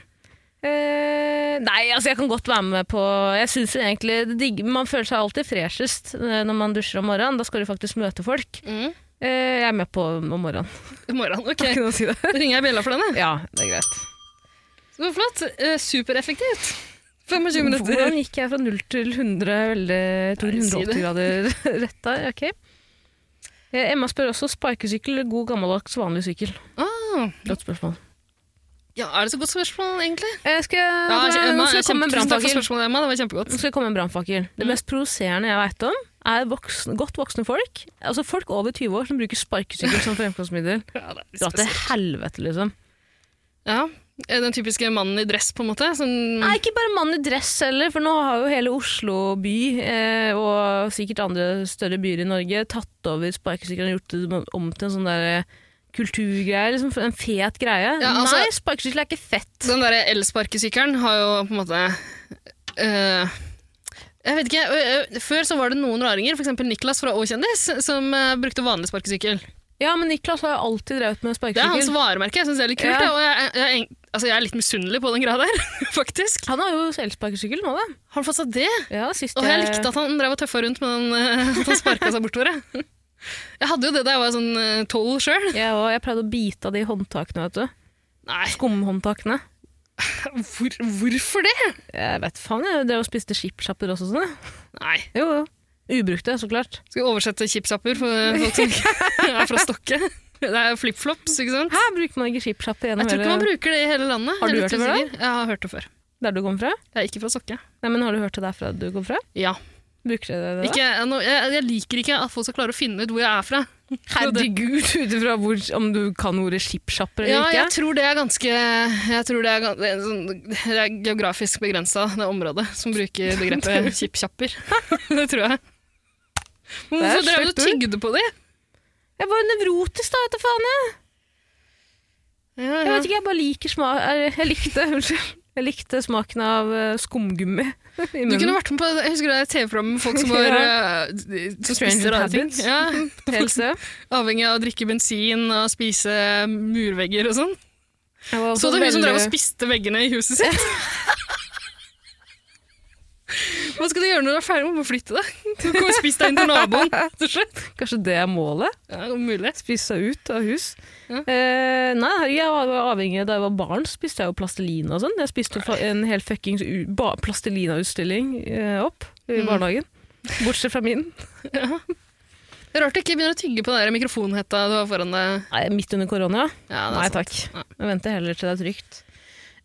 Eh, nei, altså jeg kan godt være med på Jeg synes jo egentlig det digg, Man føler seg alltid freshest eh, når man dusjer om morgenen. Da skal du faktisk møte folk. Eh, jeg er med på om morgenen.
I morgen, ok. Da ringer jeg bjella for denne.
Ja, det er greit.
Så flott. Eh, Supereffektivt. 25 minutter.
Hvordan gikk jeg fra 0 til 100 veldig tok
Nei, si det.
180 grader rett der? Ok. Eh, Emma spør også sparkesykkel eller god gammeldags vanlig sykkel.
Ah,
Godt spørsmål.
ja, er det så godt spørsmål, egentlig?
Eh, skal jeg,
Ja,
nå skal
Emma,
jeg komme med en
tusen takk for
brannfakkel?
spørsmålet, Emma. Det var kjempegodt.
Nå skal jeg komme med en brannfakkel.
Mm.
Det mest provoserende jeg veit om, er voksne, godt voksne folk. Altså folk over 20 år som bruker sparkesykkel som fremkomstmiddel.
Ja, det er
Dra til helvete, liksom.
Ja, eh, den typiske mannen i dress, på en måte. Som,
Nei, ikke bare mann i dress heller, for nå har jo hele Oslo by, eh, og sikkert andre større byer i Norge, tatt over sparkesykkelen og gjort det om til en sånn der eh, kulturgreie, liksom en fet greie.
Ja, altså-
Nei, sparkesykkel er ikke fett.
Den derre elsparkesykkelen har jo på en måte eh, Jeg vet ikke. eh, eh, før så var det noen raringer, f.eks. Niklas fra Å-kjendis, som eh, brukte vanlig sparkesykkel.
Ja, men Niklas har jo alltid drevet med
Det er hans
sparkesykkel.
varemerke. Jeg synes det er litt kult.
Ja.
det, Og jeg, jeg, jeg, altså, jeg er litt misunnelig på den greia der, faktisk.
Han har jo elsparkesykkel nå, da.
Har han fått seg det?
Ja, sist
Og jeg likte at han drev og tøffa rundt med den, eh, at han sparka seg bortover. jeg. Jeg hadde jo det da jeg var sånn tolv sjøl.
Jeg, og jeg pleide å bite av de håndtakene, vet du.
Nei,
Skumhåndtakene.
hvor, hvorfor det?
Jeg vet faen, jeg drev og spiste skipsjapper også sånn. jeg.
Nei.
Jo, jo. Ubrukte, så klart.
Skal vi oversette chipsapper for eh, folk som ikke er fra Stokke? Det er flipflops, ikke sant?
Hæ, bruker man ikke skipsjapper
Jeg
gjennom
tror ikke man bruker det i hele landet.
Har
Jeg er
du
litt
hørt det før, da?
usikker. Jeg har hørt det før.
der du kom fra?
Jeg er ikke fra Stokke.
Nei, men har du hørt det derfra du kom fra?
Ja.
Bruker dere det da?
Ikke, jeg, jeg- jeg liker ikke at folk skal klare å finne ut hvor jeg er fra.
Herregud, ut ifra hvor- om du kan ordet skipsjapper eller
Ja, jeg
ikke.
tror det er ganske Jeg tror det er, gan- det er, sånn- det er geografisk begrensa, det området som bruker begrepet kjippkjapper. det tror jeg. Men
Det er
Hvorfor drev
stygt
du og
ord.
tygde på det?
Jeg var nevrotisk da, vet du faen jeg. Jeg vet ikke, jeg bare liker smak... Jeg likte, unnskyld. Jeg likte smaken av eh, skumgummi i
Du kunne
munnen.
vært med på jeg husker det er et TV-program med folk som, var,
Ja.
eh, d-
Stranger
som spiser rare ting.
Habits.
Ja,
Helt stø.
avhengig av å drikke bensin og spise murvegger og sånn.
Jeg var
Så
også
du hun som drev og
sånn veldig-
spiste veggene i huset sitt? Hva skal du gjøre når du er ferdig med å flytte deg? Du kommer og spiser deg inn til naboen til slutt.
Kanskje det er målet?
Ja, mulig.
spise ut av hus.
Ja.
Eh, nei, herregud, jeg var avhengig Da jeg var barn, så spiste jeg jo plastelina og sånn. Jeg spiste fa- en hel fuckings u- ba- plastelina-utstilling eh, opp i
Mm.
barnehagen. Bortsett fra min.
Det er rart du ikke begynner å tygge på den der mikrofonhetta du har foran deg.
Nei, midt under korona.
Ja, det er
Nei
sant.
takk.
Nei.
Jeg venter heller til det er trygt.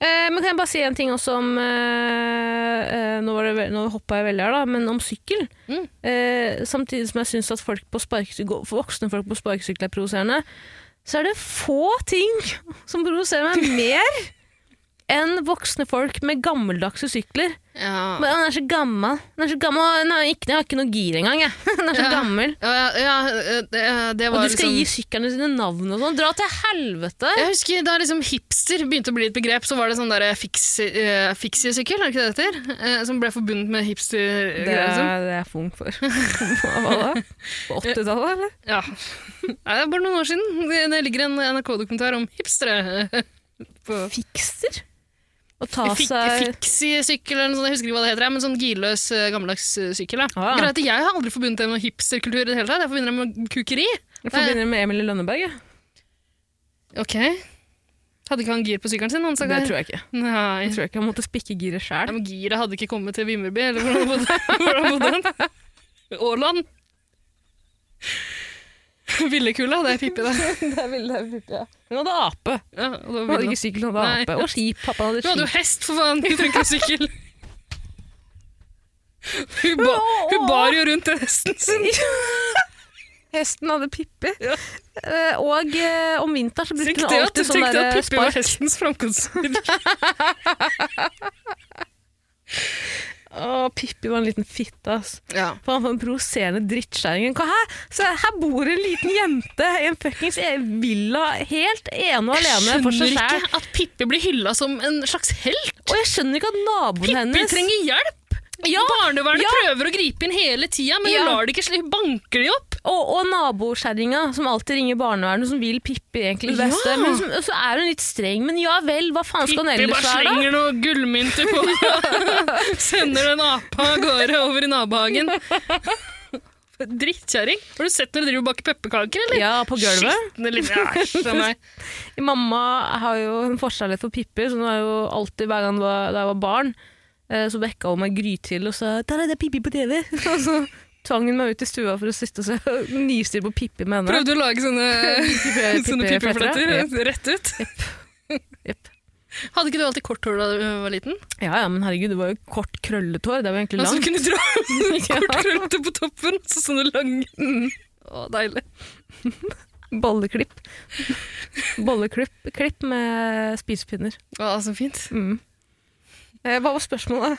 Eh, men kan jeg bare si en ting også om eh, eh, Nå, var det ve- nå hoppa jeg veldig her, da, men om sykkel.
Mm.
Eh, samtidig som jeg syns at folk på sparkesyk- voksne folk på sparkesykkel er provoserende, så er det få ting som provoserer meg mer enn voksne folk med gammeldagse sykler.
Ja.
Bare, «Å, Den er så gammel. Den er så gammel. og Den har ikke, den har ikke noe gir engang. Jeg. Den er så
Ja.
gammel.
Ja, ja, ja, det, det
Og
var
du skal
liksom
gi syklene sine navn og sånn. Dra til helvete!
Jeg husker Da liksom hipster begynte å bli et begrep, så var det sånn der fiksi- eh, fixiesykkel, er det ikke det det heter? Eh, som ble forbundet med hipster.
Det er det er jeg for ung for. Hva da? På 80-tallet, eller?
liksom. Ja. Nei, det er bare noen år siden. Det, det ligger en NRK-dokumentar om hipstere. På
Fikser? Å ta
Fik-
seg
Fixie-sykkel eller noe sånt, jeg husker ikke hva det heter, men sånn girløs, eh, gammeldags eh, sykkel. da.
Ah.
Greit, jeg har aldri forbundet det med noe hipsterkultur i det hele tatt. Jeg forbinder det med kukeri.
Jeg forbinder det med Emil i Lønneberg, jeg.
Ok. Hadde ikke han gir på sykkelen sin? Han
Det tror jeg ikke.
Nei.
Jeg tror ikke han måtte spikke giret
Ja,
sjæl.
men giret hadde ikke kommet til Vimmerby, eller hvordan bodde, hvordan bodde han? Åland? Villekula, det er pippi det.
Hun hadde ape.
Ja, og det var
Hun hadde
ville.
ikke sykkel, hun hadde
Nei.
ape. Og skip. Pappa hadde
Du hadde jo
skip.
hest, for faen! Du trengte jo sykkel. Hun, ba, hun bar jo rundt hesten sin.
Hesten hadde Pippi.
Ja.
Eh, Og eh, om vinteren så
Tenk
brukte
det
hun
at,
alltid sånn
tenk det at
der
Pippi var
spark.
hestens framkomstmiddel.
Å, Pippi var en liten fitte, ass.
Ja.
Faen for en provoserende drittkjerring. Hva her? Så her bor en liten jente i en fuckings e- villa helt ene og alene for seg sjæl.
ikke at Pippi blir hylla som en slags helt.
Og jeg skjønner ikke at naboen
Pippi
hennes
trenger hjelp! Barnevernet
Ja.
prøver å gripe inn hele tida, men
Ja.
hun lar det ikke slippe. Banker de opp?
Og, og nabokjerringa som alltid ringer barnevernet, som vil Pippi egentlig det beste.
Ja.
Men som, og så er hun litt streng, men ja vel, hva faen skal hun
Pippi bare
ellers være, da?
slenger noen gullmynter på henne. Sender en ape av gårde over i nabohagen. Drittkjerring. Har du sett når du driver og baker pepperkaker, eller?
Ja, på gulvet.
Skitne litt. Ja, æsj av meg.
Mamma har jo en forskjellighet for Pippi, så hun har jo alltid, hver gang det var, da jeg var barn, eh, så vekka hun meg grytidlig og sa «Der er det Pippi på TV!» Og så tvang hun meg ut i stua for å sitte og se nystyr på Pippi med henne.
Prøvde å lage sånne,
Pippi-
sånne pippifletter
Jepp,
rett ut.
jepp.
Hadde ikke du alltid kort hår da du var liten?
Ja, ja, men herregud, det var jo kort krøllet hår. Det var jo egentlig
Altså, du
langt.
kunne dra kort
Ja. Mm.
krøllete på toppen, så sånne lange. Å, deilig.
Bolleklipp. Bolleklipp klipp med spisepinner.
Å, så fint.
Mm. Eh, hva var spørsmålet?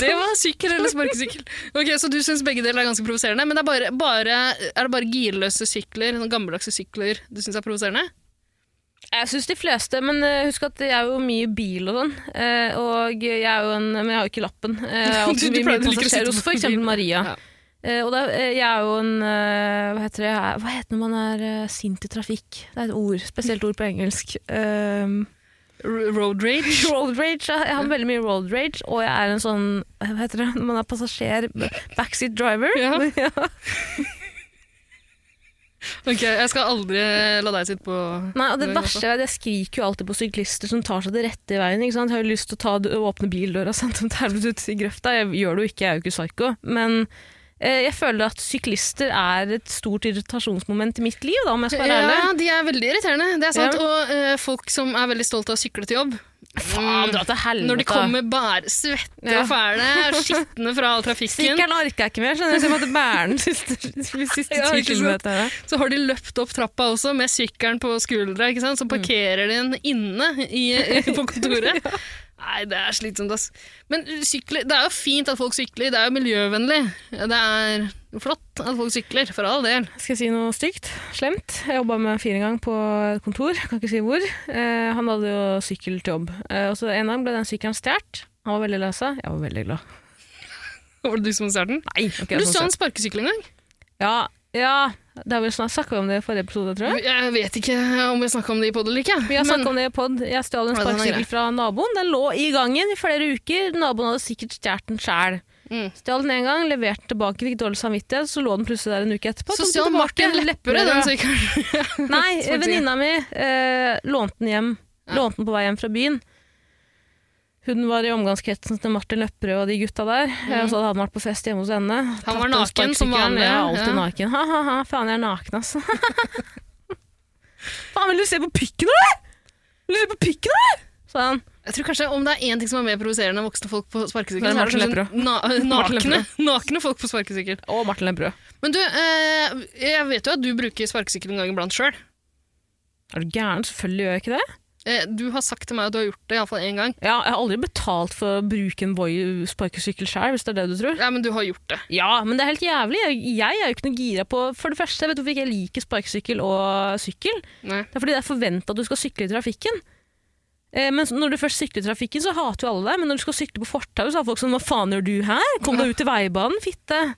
Det var sånn. sykkel eller sparkesykkel. Ok, Så du syns begge deler er ganske provoserende. Men det er, bare, bare, er det bare girløse sykler, noen gammeldagse sykler, du syns er provoserende?
Jeg syns de fleste, men eh, husk at jeg er jo mye i bil og sånn. eh, Og jeg er jo en Men jeg har jo ikke lappen. Eh, Jeg har
Du-
alltid
du
mye
pleier-
mye
du liker å sitte
passasjerer hos
på
f.eks.
bilen.
Maria.
Ja.
Eh, Og da, eh, jeg er jo en eh, Hva heter det Jeg er- Hva heter det når man er eh, sint i trafikk? Det er et ord. Spesielt ord på engelsk. Um,
R- Road rage?
road rage. ja. Jeg har veldig mye road rage, og jeg er en sånn Hva heter det når man er passasjer? Backseat driver.
Ja. Ok, Jeg skal aldri la deg sitte på
Nei, og det
Det er
verste er at jeg skriker jo alltid på syklister som tar seg det rette i veien. ikke sant? Jeg har jo lyst til å ta, åpne bildøra og sende dem til helvete ut i grøfta. Jeg gjør det jo ikke, jeg er jo ikke psyko. Men eh, jeg føler at syklister er et stort irritasjonsmoment i mitt liv, da, om jeg skal være ærlig.
Ja, de er veldig irriterende. Det er sant.
Ja.
Og eh, folk som er veldig stolt av å sykle til jobb.
Faen, dra til helvete.
Når de kommer bare svette
Ja.
og fæle, skitne fra all trafikken,
Sykkelen orker jeg ikke mer, skjønner du. Så jeg måtte bære den siste, siste
Ja,
ti
ikke sant?
kilometerne.
så har de løpt opp trappa også med sykkelen på skuldra. ikke sant? Så parkerer de den inne i, på kontoret. Nei, det er slitsomt, ass. Men sykler, det er jo fint at folk sykler. Det er jo miljøvennlig. Det er jo flott at folk sykler, for all del.
Skal jeg si noe stygt? Slemt? Jeg jobba med en fire en gang på et kontor, jeg kan ikke si hvor. Eh, han hadde jo sykkel til jobb. Eh, og så en gang ble den sykkelen stjålet. Han var veldig lei seg. Jeg var veldig glad.
Var det du som startet den?
Nei, okay,
Du sånn-
sånn
så en
sett.
sparkesykkel en gang?
Ja, ja, det har vi snart snakka om det i forrige episode, tror jeg.
Jeg vet ikke om vi snakka om det i podd eller ikke.
Vi har
men-
snakket om det i pod. Jeg stjal en
Ja, den er grei.
sparkesykkel fra naboen. Den lå i gangen i flere uker. Naboen hadde sikkert stjålet den sjæl.
Mm.
Stjal den én gang, leverte tilbake, fikk dårlig samvittighet, så lå den plutselig der en uke etterpå. tok
så
den
stjal
tilbake,
Martin Lepperød den
lepperød.
sykkelen.
Nei,
Sparkesykkel.
venninna mi eh, lånte den hjem.
Ja.
Lånte den på vei hjem fra byen. Hun var i omgangskretsen til Martin Løpperød og de gutta der. eh, Og så hadde han vært på fest hjemme hos henne. Tatt
Mhm. var
den
naken som
sparkesykkelen.
vanlig,
Ja, alltid
ja.
naken. Ha, ha, ha, faen jeg er naken, altså. faen, vil du se på pikken, eller? Vil du se på pikken, eller? Sa han.
Jeg tror kanskje Om det er én ting som er mer provoserende enn voksne folk på sparkesykkel,
Det er
så
Martin
kanskje na nakne, nakne folk på sparkesykkel.
Og Martin Lepperød.
Men du, eh, jeg vet jo at du bruker sparkesykkel en gang iblant sjøl.
Er du gæren? Selvfølgelig gjør jeg ikke det.
Eh, du har sagt til meg at du har gjort det iallfall én gang.
Ja, jeg har aldri betalt for å bruke en Voi sparkesykkel sjøl, hvis det er det du tror.
Ja, men du har gjort det.
Ja, men det er helt jævlig. Jeg, jeg er jo ikke noe gira på For det første, vet du hvorfor ikke jeg liker sparkesykkel og sykkel?
Nei.
Det er fordi det er forventa at du skal sykle i trafikken. Eh, men når du først sykler i trafikken, så hater jo alle deg. Men når du skal sykle på fortauet, så har folk sånn Hva faen gjør du her? Kom deg ut til veibanen, fitte!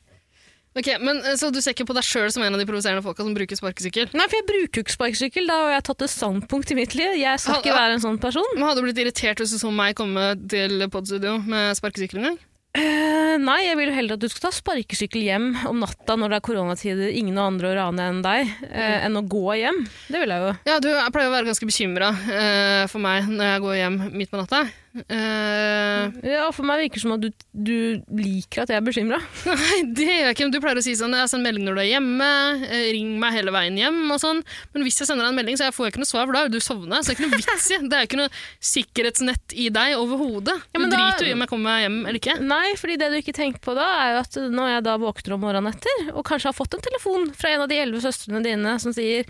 Ok, men eh, Så du ser ikke på deg sjøl som en av de provoserende folka som bruker sparkesykkel?
Nei, for jeg bruker jo ikke sparkesykkel. Da har jeg tatt et standpunkt i mitt liv. Jeg skal
Han-
ikke være en sånn person.
Men Hadde du blitt irritert hvis du så meg komme til podstudio med sparkesykkel en gang?
Eh, nei, jeg vil jo heller at du skal ta sparkesykkel hjem om natta når det er koronatider, ingen andre å rane enn deg, eh, enn å gå hjem. Det vil jeg jo.
Ja, du, Jeg pleier å være ganske bekymra eh, for meg når jeg går hjem midt på natta. Eh,
Ja, for meg virker det som at du, du liker at jeg er bekymra.
Nei, det gjør jeg ikke. Men du pleier å si sånn, jeg sender melding når du er hjemme, eh, ring meg hele veien hjem og sånn. Men hvis jeg sender deg en melding, så jeg får jeg ikke noe svar, for da har jo du sovnet. Så det er ikke noe vits i. Det er jo ikke noe sikkerhetsnett i deg overhodet.
Ja,
du
men da-
driter jo i om jeg kommer meg hjem eller ikke.
Nei, fordi det du ikke tenker på da, er jo at når jeg da våkner om morgenen etter, og kanskje har fått en telefon fra en av de elleve søstrene dine som sier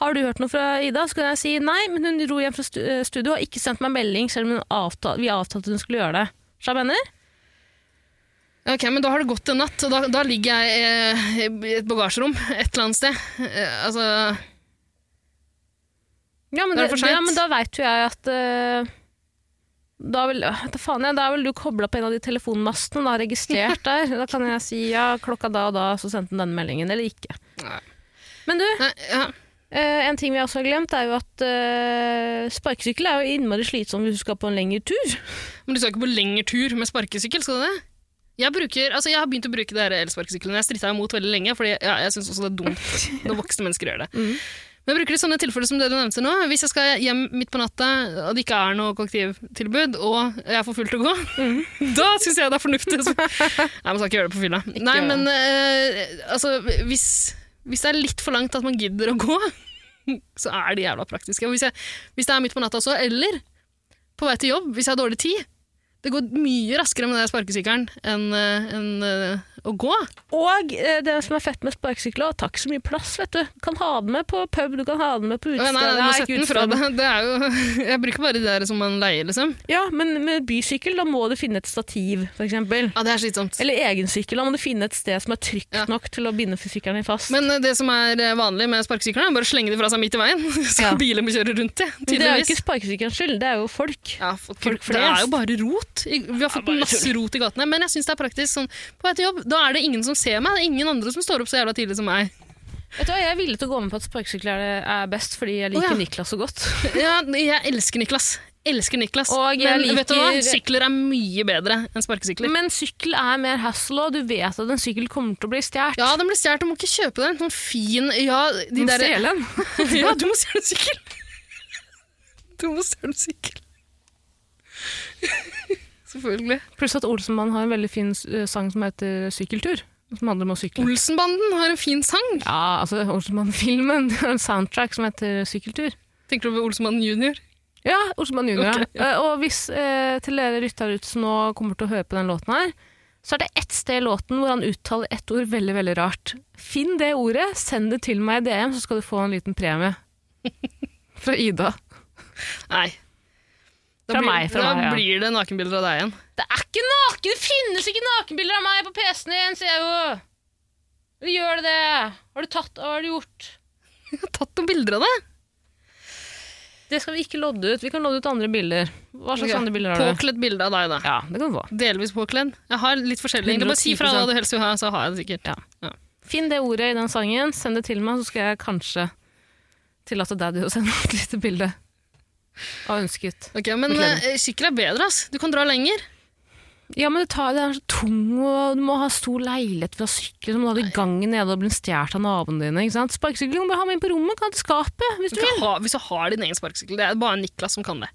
har du hørt noe fra Ida? Så kan jeg si nei, men hun dro hjem fra stu- eh, studio og har ikke sendt meg melding, selv om hun avta- vi avtalte at hun skulle gjøre det. Skjønner du hva jeg mener?
Ok, men da har det gått en natt, og da, da ligger jeg eh, i et bagasjerom et eller annet sted. Eh, altså,
Ja, men,
Da er
det,
det for
det- ja,
sent.
men da veit jo jeg at eh, da vil, øh, da faen jeg, da er vel du kobla på en av de telefonmastene og da registrert der. Da kan jeg si ja, klokka da og da, så sendte hun denne meldingen, eller ikke.
Nei.
Men du,
nei, ja.
Eh, en ting vi også har glemt, er jo at eh, sparkesykkel er jo innmari slitsom hvis du skal på en lengre tur.
Men du skal ikke på lengre tur med sparkesykkel, skal du det? Jeg, bruker, altså jeg har begynt å bruke det her elsparkesyklene. Jeg stritta imot veldig lenge, fordi ja, jeg syns også det er dumt når voksne mennesker gjør det. Men jeg bruker det i sånne tilfeller som det du nevnte nå. Hvis jeg skal hjem midt på natta, og det ikke er noe kollektivtilbud, og jeg får fullt å gå, da syns jeg det er fornuftig. å sp- Nei, man skal ikke gjøre det på fylla. Nei,
gjør det.
men eh, altså, hvis, hvis det er litt for langt at man gidder å gå, så er det jævla praktisk. Og Hvis, jeg, hvis det er midt på natta også, eller på vei til jobb, hvis jeg har dårlig tid Det går mye raskere med den der sparkesykkelen enn eh, enn, eh, å gå.
Og eh, det som er fett med sparkesykler, er at det tar ikke så mye plass, vet du. Du kan ha den med på pub, du kan ha den med på
Nei,
utested.
nei, du må
Nei,
sette
ikke
den fra
utested.
deg. Det er jo, jeg bruker bare de der som man leier, liksom.
Ja, men med bysykkel, da må du finne et stativ, for eksempel.
Ja, det er slitsomt.
Eller egen sykkel, da må du finne et sted som er trygt
Ja.
nok til å binde sykkelen din fast.
Men eh, det som er eh, vanlig med sparkesyklene, er bare å slenge de fra seg midt i veien. Så
Ja.
biler må kjøre rundt det,
det er jo
tydeligvis.
ikke sparkesykkelens skyld, det er jo folk.
Ja, folk,
Folk
det
flest.
er jo bare rot. I- Vi har fått masse rot i gatene. Men jeg syns det er praktisk. Sånn, på vei til jobb, da er det ingen som ser meg. Det er ingen andre som står opp så jævla tidlig som meg.
Vet du hva, Jeg er villig til å gå med på at sparkesykkel er, det- er best, fordi jeg liker
Å, ja.
Niklas så godt.
Ja, jeg elsker Niklas. Elsker Niklas.
Og jeg
men vet du hva?
liker-
Sykler er mye bedre enn sparkesykler.
Men sykkel er mer hassle, og du vet at en sykkel kommer til å bli stjålet.
Ja, den ble stjålet. Du må ikke kjøpe den. Sånn fin Ja,
Du
de
må
der
stjele den.
Ja, du må stjele sykkel! Du må stjele sykkel. Selvfølgelig.
Pluss at Olsenmann har en veldig fin eh, sang som heter Sykkeltur, som handler om å sykle.
Olsenbanden har en fin sang.
Ja, altså Olsenmann-filmen har en soundtrack som heter Sykkeltur.
Tenker du på Olsenbanden junior?
Ja, Olsenmann junior.
Ok,
ja. Eh, Og hvis eh, til dere lyttere ute som nå kommer til å høre på den låten her, så er det ett sted i låten hvor han uttaler ett ord veldig, veldig rart. Finn det ordet, send det til meg i DM, så skal du få en liten premie. Fra Ida.
Nei. Da
Fra meg, fra
da
meg, ja.
blir det nakenbilder av deg igjen.
Det er ikke naken! Det finnes ikke nakenbilder av meg på PC-en din, sier jeg jo! Eller gjør det det? Har du tatt Hva har du gjort?
Jeg har tatt noen bilder av deg.
Det skal vi ikke lodde ut. Vi kan lodde ut andre bilder. Hva slags
Ok,
andre bilder har du?
Påkledd bilde av deg, da.
Ja, det kan du få.
Delvis påkledd. Jeg har litt forskjellig. Du må si fra hva du helst vil ha, så har jeg det sikkert.
Finn det ordet i den sangen, send det til meg, så skal jeg kanskje tillate daddy å sende et lite bilde av ønsket.
Ok, Men
Påkledd.
eh, sykkel er bedre, ass. Du kan dra lenger.
Ja, men det, tar, det er så tung, og du må ha stor leilighet for å sykle, så må du ha det i gangen nede og bli stjålet av naboene dine. ikke sant? Sparkesykkel kan du bare ha med inn på rommet, kan ha det i skapet, hvis
Du
du vil.
kan ha, hvis du har din egen sparkesykkel. Det er bare Niklas som kan det.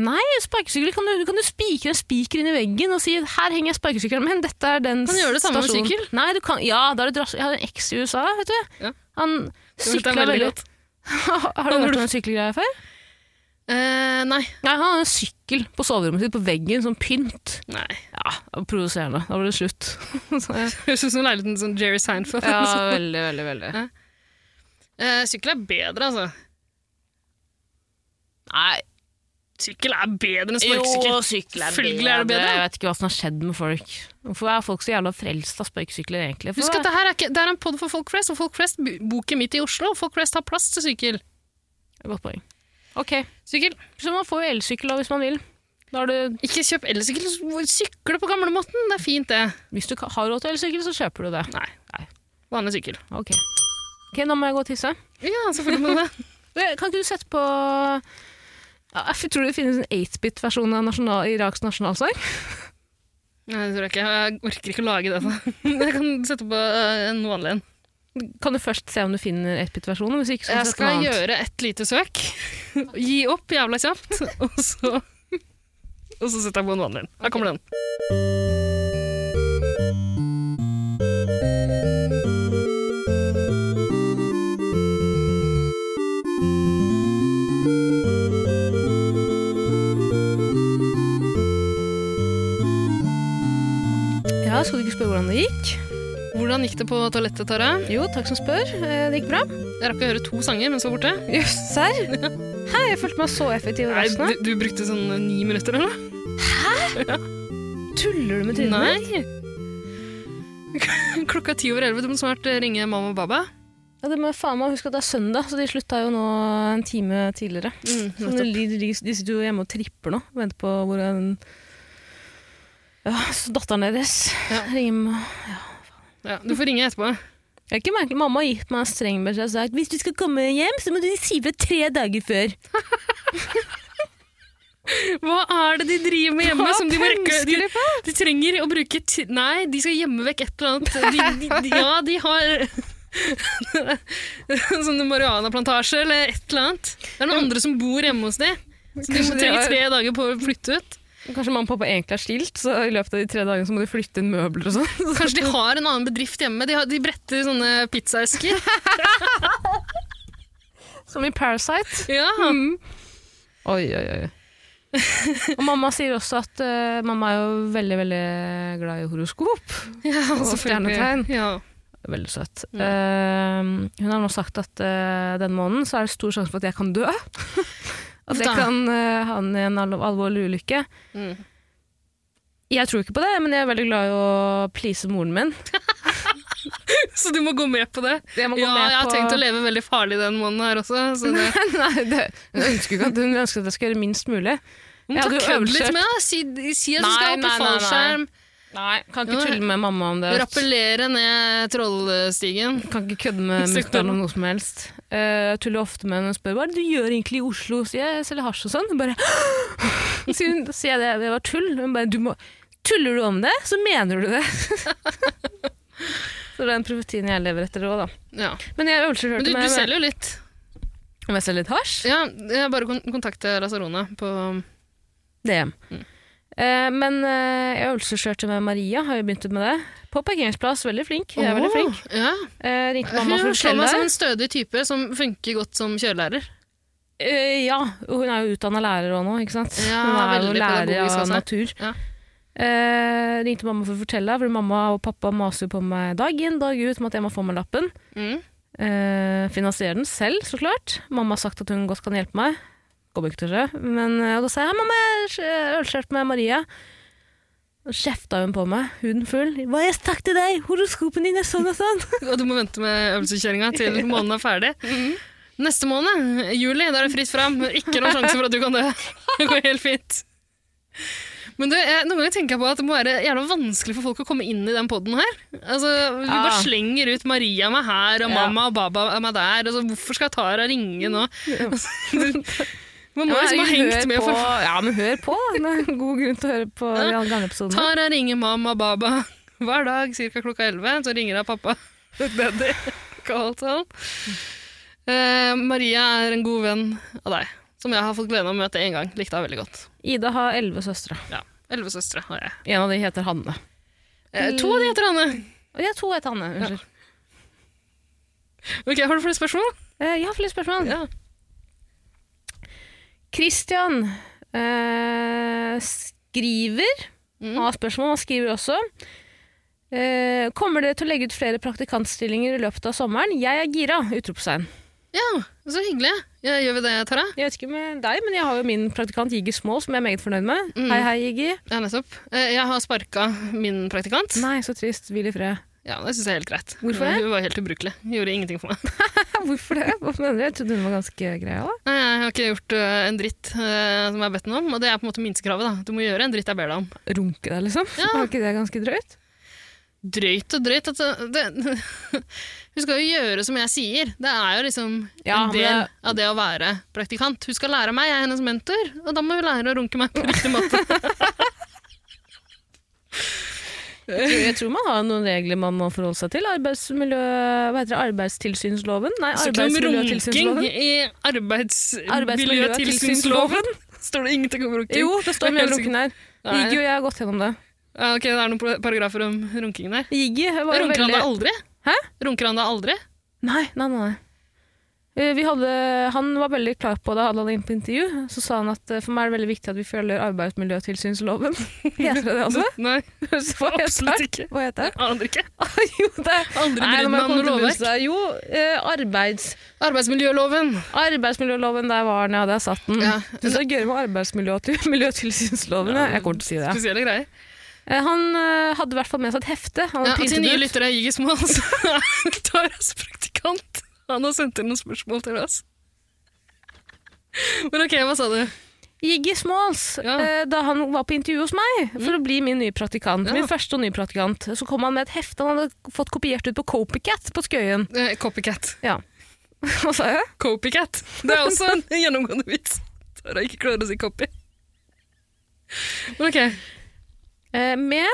Nei, sparkesykkel kan du, du kan jo spikre en spiker inn i veggen og si 'her henger jeg sparkesykkelen min', dette er den
Kan du gjøre det samme med
stasjonen».
sykkel?
Nei, du kan, ja, da er det drass... Jeg hadde en eks i USA, vet du.
Ja.
Han
Det vet jeg
sykla veldig
godt.
Har du hørt om den sykkelgreia før?
Eh, nei.
Nei, han hadde en sykkel på soverommet sitt på veggen, sånn pynt.
nei.
Ja, det var provoserende. Da var det slutt. Så, ja.
Høres ut som leiligheten til Jerry Seinfeld.
ja, veldig, veldig, veldig.
Eh, sykkel er bedre, altså.
Nei,
Sykkel er bedre enn
jo,
sparkesykkel.
sykkel er
Selvfølgelig
bedre.
er det bedre.
Jeg vet ikke hva som har skjedd med folk. Hvorfor er folk så jævla frelst av sparkesykler, egentlig? For
Husk at det her er, ikke, det er en pod for folk flest, og folk flest bor ikke midt i Oslo. og Folk flest har plass til sykkel.
Godt poeng. Ok,
Sykkel.
så man får jo elsykkel da, hvis man vil. Da har du,
Ikke kjøp elsykkel, sykle på gamlemåten. Det er fint, det.
hvis du ka- har råd til elsykkel, så kjøper du det.
Nei.
Nei.
Vanlig sykkel.
Ok. Ok, nå må jeg gå og tisse.
Ja, selvfølgelig må du det.
Eh, Kan ikke du sette på ja, Jeg tror det finnes en 8-bit-versjon av nasjonal, Iraks nasjonalsang.
Nei, det tror jeg ikke. Jeg orker ikke å lage dette. Jeg kan sette på eh, en vanlig en.
Kan du først se om du finner 8-bit-versjonen? Hvis ikke, så
Jeg
sett
skal
noe annet.
gjøre et lite søk. Gi opp jævla kjapt, og så Og så setter jeg på en vanlig en. Her kommer den.
Ja, Skal du ikke spørre hvordan det gikk?
Hvordan gikk det på toalettet, Tara?
Jo, takk som spør. Eh, Det gikk bra.
Jeg rakk å høre to sanger mens jeg var borte.
Jøss, serr? Hæ, jeg følte meg så effektiv og
Nei,
rask nå.
du, du brukte sånn eh, ni minutter, eller?
Tuller du med trynet mitt?
Nei. Klokka er ti over elleve. Du må snart eh, ringe mamma og baba.
Ja, det må jeg faen meg huske at det er søndag, så de slutta jo nå en time tidligere.
Mm,
Så de, de, de sitter jo hjemme og tripper nå. Venter på hvor en Ja, så datteren deres
Ja.
ringer med
Ja, du får ringe etterpå.
Jeg har ikke merket, Mamma har gitt meg en streng beskjed og sagt hvis du skal komme hjem, så må du si fra tre dager før.
Hva er det de driver med hjemme?
Hva
som de, må rekke,
pønsker
de,
de
de trenger å bruke ti Nei, de skal gjemme vekk et eller annet. De, de, de, ja, de har Sånn marihuanaplantasje eller et eller annet. Det er noen andre som bor hjemme hos de. Så de
Kanskje
må
de
trenge
har-
tre dager på å flytte ut.
Kanskje mamma og pappa egentlig er skilt, så i løpet av de tre dagene så må de flytte inn møbler og sånn.
Kanskje de har en annen bedrift hjemme. De, har, de bretter sånne pizzaesker.
Som i Parasite.
Ja.
Oi, oi, oi. og mamma sier også at eh, mamma er jo veldig, veldig glad i horoskop.
ja selvfølgelig.
altså, stjernetegn.
Ja.
Veldig søt. Eh, hun har nå sagt at eh, den måneden så er det stor sjanse for at jeg kan dø. at jeg
Da.
kan eh, havne i en alv- alvorlig ulykke.
Mm.
Jeg tror ikke på det, men jeg er veldig glad i å please moren min.
Så du må gå med på det.
Jeg må gå
Ja,
med
jeg har
på-
tenkt å leve veldig farlig den måneden her også. Så det.
Nei, det, hun ønsker ikke at hun ønsker at jeg skal gjøre minst mulig.
Men
Jeg
ta
hadde jo
kødd litt
øvelseskjørt.
med det. Si, si at du
Nei,
skal hoppe
nei, nei, nei.
fallskjerm.
Nei, kan ikke tulle med mamma om det.
Rappellere ned trollstigen.
Kan ikke kødde med
Søkt
mutter'n om
den.
noe som helst. Eh, Jeg tuller ofte med henne og spør hva er det du gjør egentlig i Oslo. Sier jeg, jeg selger hasj og sånn. Hun Bare sier hun, sier jeg det, det var tull. Hun bare du må Tuller du om det, så mener du det. så det er den profetien jeg lever etter òg, da.
Ja.
Men jeg
Men
øvelseskjørte
du, du
med
selger jo litt.
om jeg selger litt hasj.
Ja, jeg bare kon kontakter Razarone på
DM.
Mm.
Eh, men eh, jeg øvelseskjørte med Maria, har jo begynt med det. På parkeringsplass, veldig flink. Jeg er veldig flink.
Åh, Ja.
Eh, ringte mamma for å
Hun slår
fortelle.
meg som en stødig type som funker godt som kjørelærer.
Eh, ja, og hun er jo utdanna lærer òg nå, ikke sant?
Ja,
hun er jo
veldig
lærer
pedagogisk
av
også.
natur.
Ja.
Eh, ringte mamma for å fortelle, for mamma og pappa maser jo på meg dag inn dag ut om at jeg må få meg lappen.
Mm.
Eh, finansiere den selv, så klart. Mamma har sagt at hun godt kan hjelpe meg. Kommer ikke til å skje. Men, eh, og da sa jeg «Hei, mamma, jeg er ølskjørt med Maria. Og kjefta hun på meg, huden full. Hva har jeg sagt til deg? Horoskopen din er sånn og sånn.
Og du må vente med øvelseskjøringa til måneden er ferdig. Neste måned, juli, da er det fritt fram. Ikke noen sjanse for at du kan dø. Det går helt fint. Men du, jeg, noen ganger tenker jeg på at det må være jævla vanskelig for folk å komme inn i den poden her. Altså, Vi
Ja.
bare slenger ut 'Maria er meg her', og 'mamma og baba er meg der'. Altså, hvorfor skal Tara ringe nå? Altså, du- man må liksom ha hengt med
på,
for
Ja, men hør på, da. Det er en god grunn til å høre på de alle gamle episodene.
Tara ringer mamma og baba hver dag ca. klokka 11. Så ringer hun pappa. Daddy. Kalt han. Eh, Maria er en god venn av deg, som jeg har fått gleden av å møte én gang. Likte henne veldig godt.
Ida har elleve søstre.
Ja, Elleve søstre har jeg.
En av de heter Hanne.
Eh, to av de heter Hanne.
Og jeg har to heter Hanne. Unnskyld.
Ok, Har du flere spørsmål?
Eh, jeg har flere spørsmål.
Ja.
Christian eh, skriver
Mm.
Han har spørsmål, han skriver også. Eh, kommer dere til å legge ut flere praktikantstillinger i løpet av sommeren? Jeg er gira! Utropstegn.
Ja, så hyggelig. Ja, gjør vi det, Tara?
Jeg vet ikke med deg, men jeg har jo min praktikant Jiggy Small, som jeg er meget fornøyd med. Hei, hei, Jiggy.
Ja, nettopp. Eh, Jeg har sparka min praktikant.
Nei, så trist. Hvil i fred.
Ja, Det syns jeg er helt greit.
Hvorfor det?
Hun var helt ubrukelig. Hun Gjorde ingenting for meg.
Hvorfor det? Hvorfor mener du? Jeg trodde hun var ganske grei òg.
Nei, Jeg har ikke gjort øh, en dritt øh, som jeg har bedt henne om, og det er på en måte minstekravet. da. Du må gjøre en dritt jeg ber deg om.
Runke deg, liksom.
Ja.
Var ikke det ganske drøyt?
Drøyt og drøyt altså, det, Hun skal jo gjøre som jeg sier. Det er jo liksom
Ja,
en
men
del
det-
av det å være praktikant. Hun skal lære meg, jeg er hennes mentor, og da må hun lære å runke meg på riktig måte.
Jeg tror- Jeg tror man har noen regler man må forholde seg til. Arbeidsmiljø... Hva heter det? Arbeidstilsynsloven? Nei,
Så ikke om runking
arbeidsmiljøtilsynsloven.
i arbeidsmiljøtilsynsloven står det ingenting om runking.
Jo, det står mye om runking der.
Nei.
Jiggy og jeg har gått gjennom det.
Ja, ok, det er noen paragrafer om runking der.
Jiggy var jo
Runker han
veldig
da aldri?
Hæ?
Runker han da aldri?
Nei, nei, nei. nei. Eh, Vi hadde, han var veldig klar på det, hadde han inn på intervju. Så sa han at eh, for meg er det veldig viktig at vi følger arbeidsmiljøtilsynsloven. Heter det det også?
Nei,
Hva heter
absolutt
det?
ikke.
Hva heter det?
Aner ikke.
Jo, det er
Aldri
Nei,
brydd
nå må
meg
jeg
om
komme til
noe
bunns
lovverk.
der. Jo, eh, arbeids,
Arbeidsmiljøloven.
arbeidsmiljøloven, der var den, ja, der satt den.
Ja.
Synes det er gøy med arbeidsmiljøtilsynsloven, jeg kommer til å si det.
Spesielle greier.
Eh, Han eh, hadde i hvert fall med seg et hefte. Han
Ja,
hadde
og til
printet
nye
ut.
lyttere jeg gikk i små, så er Taras praktikant. Han har sendt inn noen spørsmål til oss. Men ok, hva sa du?
Jiggy Smalls,
Ja. Mm.
eh, da han var på intervju hos meg for å bli min nye praktikant,
Ja.
min første og nye praktikant, så kom han med et hefte han hadde fått kopiert ut på Copicat på Skøyen.
Eh, copycat.
Ja. Hva sa jeg?
Copycat. Det er også en gjennomgående vits. Tara ikke klarer å si copy. Men ok.
Eh, med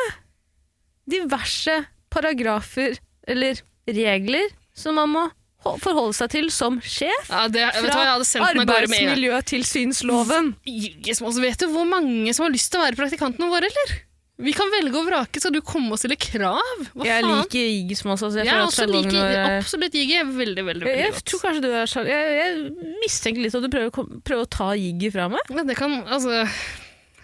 diverse paragrafer eller regler som man må ho- forholde seg til som sjef
Ja, det, vet du hva, jeg hadde
fra
sendt meg gårde med en gang.
arbeidsmiljøtilsynsloven.
Jøss, men altså, vet du hvor mange som har lyst til å være praktikantene våre, eller? Vi kan velge og vrake. Skal du komme og stille krav? Hva
Jeg
faen?
liker Jiggy Smalls. Altså, jeg,
Jeg,
føler at
også
sjargongen
liker
vår er-
absolutt Jiggy. Jeg er Veldig, veldig,
jeg,
veldig
jeg tror kanskje du er sjar- Jeg, jeg mistenker litt at du prøver, å kom- prøver å ta Jiggy fra meg.
Men det kan, altså...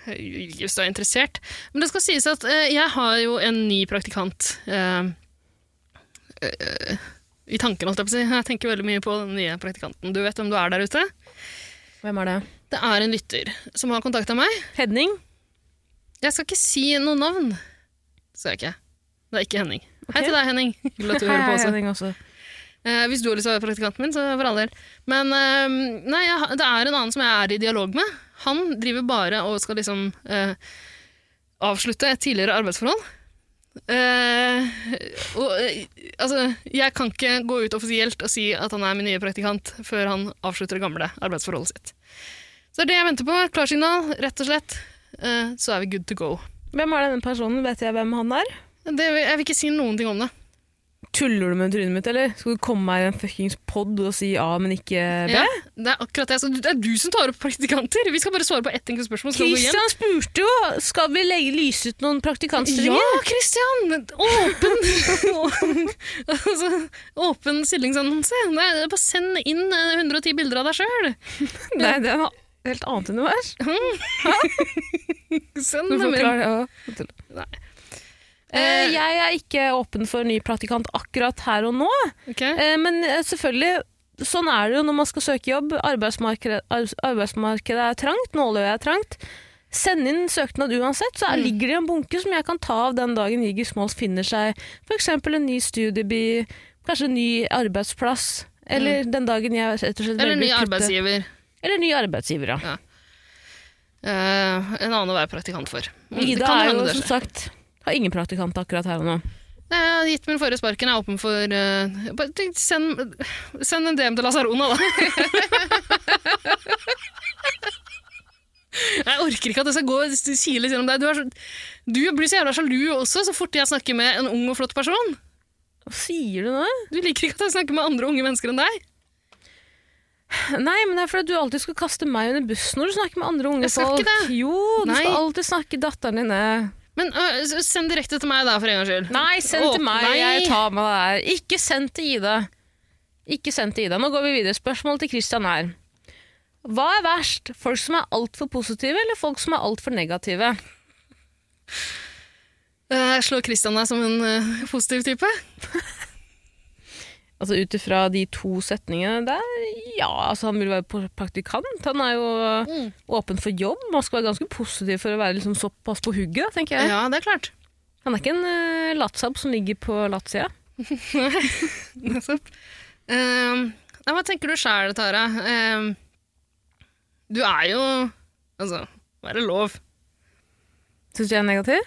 Hvis du er interessert. Men det skal sies at eh, jeg har jo en ny praktikant eh, eh, i tanken, holdt jeg på å si. Jeg tenker veldig mye på den nye praktikanten. Du vet hvem du er der ute?
Hvem er det?
Det er en lytter som har kontakta meg.
Hedning?
Jeg skal ikke si noe navn. Det skal jeg ikke. Det er ikke Henning. Hei til deg, Henning. Hyggelig at du hører på også.
Henning også.
Eh, hvis du har lyst til å være praktikanten min, så for all del. Men eh, nei, jeg, har- det er en annen som jeg er i dialog med. Han driver bare og skal liksom eh, avslutte et tidligere arbeidsforhold. Eh, og eh, altså, jeg kan ikke gå ut offisielt og si at han er min nye praktikant før han avslutter det gamle arbeidsforholdet sitt. Så det er det jeg venter på. Et klarsignal, rett og slett. Eh, så er vi good to go.
Hvem er denne personen? Vet jeg hvem han er?
Det, jeg vil ikke si noen ting om det.
Tuller du med trynet mitt, eller? Skal du komme meg i en fuckings pod og si A, men ikke B?
Ja, det er akkurat det. Så det er du som tar opp praktikanter! Vi skal bare svare på ett enkelt spørsmål. Skal vi gå hjem?
Christian spurte jo skal vi legge lyse ut noen
Ja,
praktikantstillinger.
Christian! Åpen altså, Åpen stillingsannonse. Nei, bare send inn eh, 110 bilder av deg sjøl.
Nei, det er et helt annet univers.
Send
Du
dem inn.
forklarer det òg.
Nei.
Eh, jeg er ikke åpen for ny praktikant akkurat her og nå,
Ok.
eh, men eh, selvfølgelig Sånn er det jo når man skal søke jobb. Arbeidsmarkedet, arbeids- arbeidsmarkedet er trangt, nåløyet er trangt. Send inn søknad uansett, så
Mm.
her ligger det en bunke som jeg kan ta av den dagen Jiggy Smalls finner seg f.eks. en ny studieby, kanskje en ny arbeidsplass, eller den dagen jeg rett og slett
Mm. Eller ny
velger å kutte-
arbeidsgiver.
Eller ny arbeidsgiver, ja.
Eh, en annen å være praktikant for. Mm, det
Ida
kan
er
hende
jo
det
som
skjer.
sagt har ingen praktikant akkurat her og nå.
Nei, Jeg har gitt min forrige sparken. Jeg er åpen for eh, bare tenk, send, send en DM til Lasarona, da. Jeg orker ikke at det skal gå siles gjennom deg. Du, er så, du blir så jævla sjalu også, så fort jeg snakker med en ung og flott person.
Hva sier du nå?
Du liker ikke at jeg snakker med andre unge mennesker enn deg.
Nei, men det er fordi at du alltid skal kaste meg under bussen når du snakker med andre unge
Jeg skal
folk.
ikke det.
Jo, du
Nei.
skal alltid snakke datteren din ned.
Men øh, s- send direkte til meg, da, for en gangs skyld.
Nei, send
Å,
til meg.
nei.
Jeg tar med det her. Ikke send til Ida. Ikke send til Ida. Nå går vi videre. Spørsmål til Christian her. Hva er verst? Folk som er altfor positive, eller folk som er altfor negative?
Eh, slår Christian deg som en eh, positiv type?
Altså Ut ifra de to setningene der, ja, altså han vil være på- praktikant. Han er jo
Mm.
åpen for jobb. Man skal være ganske positiv for å være liksom såpass på hugget, da, tenker jeg.
Ja, det er klart.
Han er ikke en uh, latsabb som ligger på latsida.
Nettopp. Ehm, nei, hva tenker du sjæl, Tara? Ehm, du er jo Altså, hva er det lov?
Syns du jeg er negativ?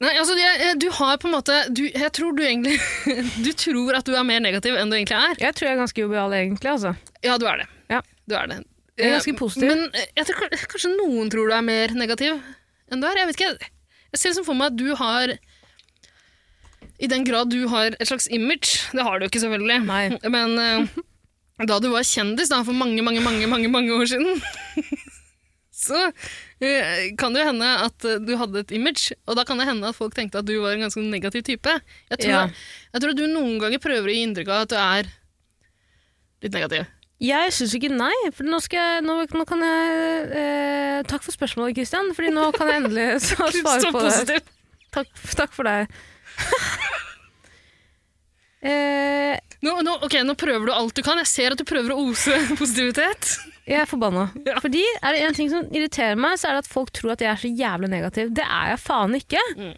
Nei, altså, jeg, du har på en måte du, Jeg tror du egentlig Du tror at du er mer negativ enn du egentlig er.
Jeg tror jeg er ganske jovial, egentlig. altså.
Ja, du er det.
Ja.
Du er det.
Jeg er ganske
Eh,
positiv.
Men eh, jeg tror, k- kanskje noen tror du er mer negativ enn du er. Jeg vet ikke. Jeg ser liksom for meg at du har I den grad du har et slags image Det har du jo ikke, selvfølgelig.
Nei.
Men eh, da du var kjendis da, for mange, mange, mange, mange, mange år siden så eh, kan det jo hende at eh, du hadde et image, og da kan det hende at folk tenkte at du var en ganske negativ type. Jeg tror,
Ja.
jeg tror at du noen ganger prøver å gi inntrykk av at du er litt negativ.
Jeg syns ikke nei, for nå, skal jeg, nå, nå kan jeg eh, Takk for spørsmålet, Kristian, fordi nå kan jeg endelig svare
Så
på det.
positiv.
Takk, takk for deg. eh,
Nå, nå, ok, nå prøver du alt du kan. Jeg ser at du prøver å ose positivitet.
jeg er forbanna.
Ja.
Fordi er det en ting som irriterer meg, så er det at folk tror at jeg er så jævlig negativ. Det er jeg faen ikke.
Mm.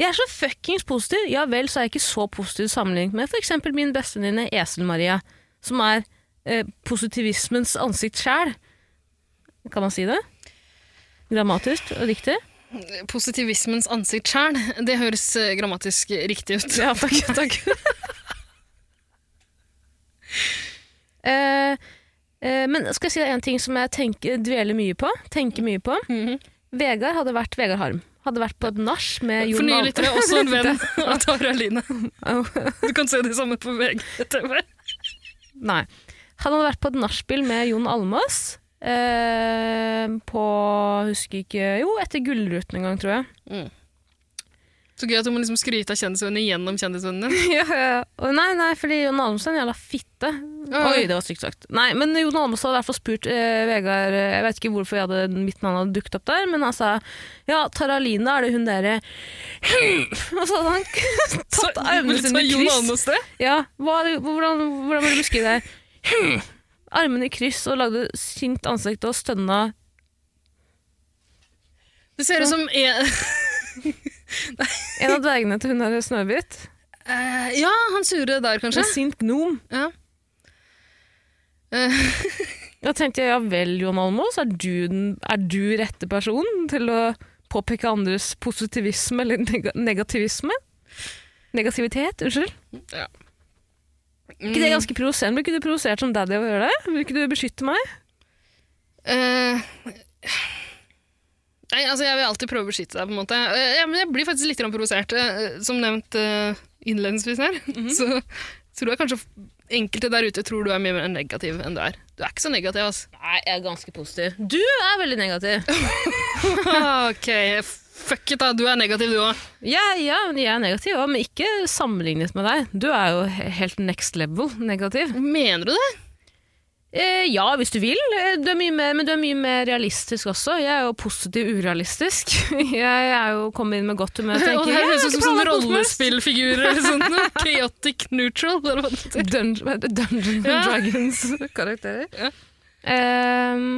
Jeg er så fuckings positiv. Ja vel, så er jeg ikke så positiv sammenlignet med f.eks. min bestevenninne Esel-Maria, som er eh, positivismens ansikt sjæl. Kan man si det? Grammatisk og riktig?
Positivismens ansikt sjæl, det høres eh, grammatisk riktig ut.
Ja, takk. takk. Eh, eh, men skal jeg si deg en ting som jeg tenker, dveler mye på? Tenker mye på.
Mhm.
Vegard hadde vært Vegard Harm. Hadde vært på et nach med
For
Jon
nye
Al-
lyttere, også en venn av Tara Line. Du kan se det samme på VGTV.
Nei. Han hadde vært på et nachspiel med Jon Almaas. eh, på Husker ikke Jo, etter Gullruten en gang, tror jeg.
Så gøy at du må liksom skryte av kjendisvennene gjennom kjendisvennene. dine.
ja, ja. Og nei, nei, fordi Jon Almaas er en jævla fitte. Oi, det var stygt sagt. Nei, men Jon Almaas hadde i hvert fall spurt eh, Vegard eh, Jeg vet ikke hvorfor jeg hadde, mitt navn hadde dukket opp der, men han sa ja, Tara Line, er det hun derre Og så hadde han
Så-
tatt armene
vil du ta
sine i
Jon
kryss.
Almaas det?
Ja, hva, er det- hvordan, hvordan vil du beskrive det? Hmm. Armene i kryss og lagde sint ansikt og stønna.
Det ser ut som e- en,
En av dvergene til hun der Snøhvit.
Eh, Ja, han sure der, kanskje.
En sint gnom.
Ja.
Da tenkte jeg ja vel, Jon Almaas, er, du den- er du rette personen til å påpeke andres positivisme eller neg negativisme? Negativitet, unnskyld.
Ja.
Ikke det ganske provoserende? Blir ikke du provosert som daddy av å gjøre det? Vil ikke du beskytte meg?
Eh, Nei, altså Jeg vil alltid prøve å beskytte deg. på en måte. Eh, ja, men jeg blir faktisk litt grann provosert. eh, som nevnt eh, innledningsvis her, så tror jeg kanskje enkelte der ute tror du er mye mer negativ enn du er. Du er ikke så negativ, altså.
Nei, jeg er ganske positiv. Du er veldig negativ.
ok, fuck it, da. Du er negativ, du òg.
Ja, ja, men jeg er negativ òg, men ikke sammenlignet med deg. Du er jo he- helt next level negativ.
Mener du det?
Eh, ja, hvis du vil. Eh, Du er mye mer, men du er mye mer realistisk også. Jeg er jo positiv urealistisk. Jeg er jo kommet inn med godt humør. tenker
Og det
jeg,
her høres
jeg
ut som
har
sånne
ikke planlagt noe som helst.
rollespillfigurer. eller sånt noe. Chaotic neutral. Eller hva det heter.
Dungeon, hva heter det? Dungeons
Ja.
and Dragons-karakterer.
Ja.
Ehm,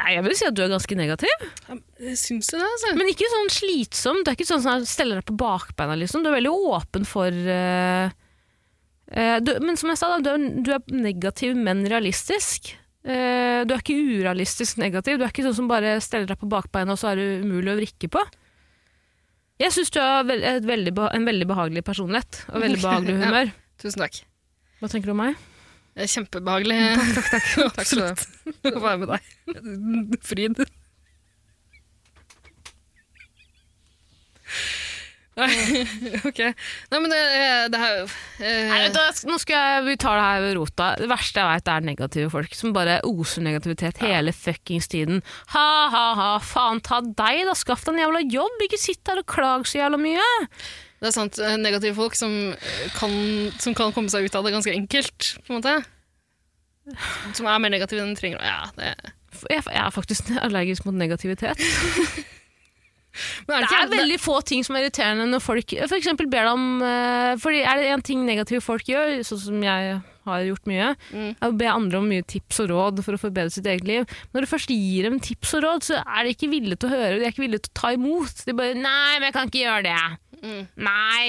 nei, jeg vil si at du er ganske negativ.
Syns du det, altså?
Men ikke sånn slitsom. Du er ikke sånn som er- steller deg på bakbeina, liksom. Du er veldig åpen for eh, eh, du, Men som jeg sa, da, du er, du er negativ, men realistisk. Eh, du er ikke urealistisk negativ. Du er ikke sånn som bare steller deg på bakbeina, og så er du umulig å vrikke på. Jeg syns du har vel- et veldig, beha- en veldig behagelig personlighet og veldig behagelig
Ja.
humør.
Tusen takk.
Hva tenker du om meg?
Det er Kjempebehagelig. Takk, takk, takk. Absolutt. Å være med deg. Fryd. Nei, ok. Nei, men det, det her
Nei, vet
eh,
du, hva, nå skal jeg, vi tar det her ved rota. Det verste jeg vet er negative folk som bare oser negativitet hele fuckings tiden. Ha, ha, ha, faen ta deg da, skaff deg en jævla jobb, ikke sitt her og klag så jævla mye.
Det er sant. eh, Negative folk som kan, som kan komme seg ut av det ganske enkelt, på en måte. Som er mer negativ enn den trenger. å- Ja, det,
F- Jeg jeg er faktisk allergisk mot negativitet.
men
Det er veldig få ting som er irriterende når folk For eksempel ber deg om eh, Fordi er det en ting negative folk gjør, sånn som jeg har gjort mye,
Mm.
er å be andre om mye tips og råd for å forbedre sitt eget liv. Når du først gir dem tips og råd, så er de ikke villige til å høre, de er ikke villige til å ta imot. De bare 'Nei, men jeg kan ikke gjøre det'.
Mm.
Nei.